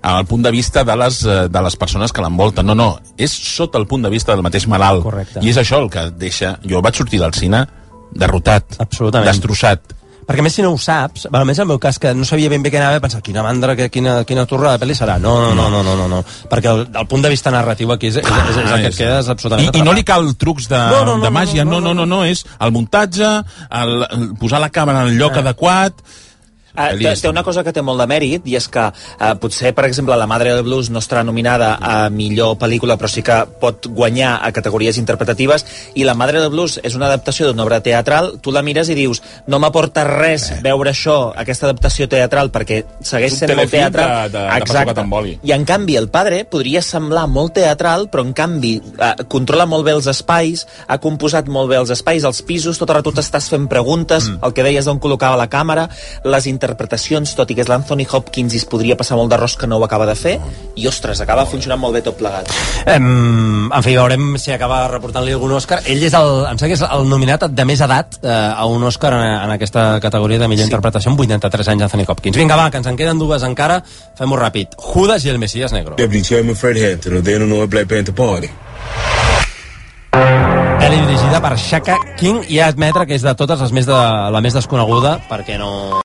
amb el punt de vista de les, eh, de les persones que l'envolten. No, no, és sota el punt de vista del mateix malalt. Correcte. I és això el que et deixa... Jo vaig sortir del cine derrotat, Absolutament. destrossat. Perquè a més si no ho saps, bueno, almenys en el meu cas, que no sabia ben bé què anava, pensava, quina mandra, que, quina, quina torre de pel·li serà. No, no, no, no, no, no, no. perquè el, el punt de vista narratiu aquí és, és, és, és el que et quedes absolutament... Ah, I, I no li cal trucs de, no, no, no, de màgia, no no no, no, no, és el muntatge, el, el posar la càmera en el lloc Eh. adequat... Uh, té, té una cosa que té molt de mèrit i és que uh, potser, per exemple, La Madre del Blues no estarà nominada a millor pel·lícula però sí que pot guanyar a categories interpretatives i La Madre del Blues és una adaptació d'una obra teatral tu la mires i dius, no m'aporta res veure això, aquesta adaptació teatral perquè segueix És un sent molt telefilm teatral de- de- de Paco Catamoli. i en canvi el padre podria semblar molt teatral, però en canvi eh, controla molt bé els espais, ha composat molt bé els espais, els pisos, tot el rato t'estàs fent preguntes, mm. el que deies d'on col·locava la càmera, les interpretacions, tot i que és l'Anthony Hopkins i es podria passar molt d'arròs que no ho acaba de fer, i ostres, acaba funcionant Mm. molt bé tot plegat. Em, en fi, veurem si acaba reportant-li algun Òscar. Ell és el, em sembla que és el nominat de més edat eh, a un Òscar en, en aquesta categoria de millor sí. interpretació amb 83 anys Anthony Hopkins. Vinga, va, que ens en queden dues encara. Fem-ho ràpid. Judas i el Messias Negro. Deputy Chairman Fred Hampton of the Illinois Black Panther Party. Pel·li dirigida per Shaka King i ha d'admetre que és de totes les més de, la més desconeguda perquè no...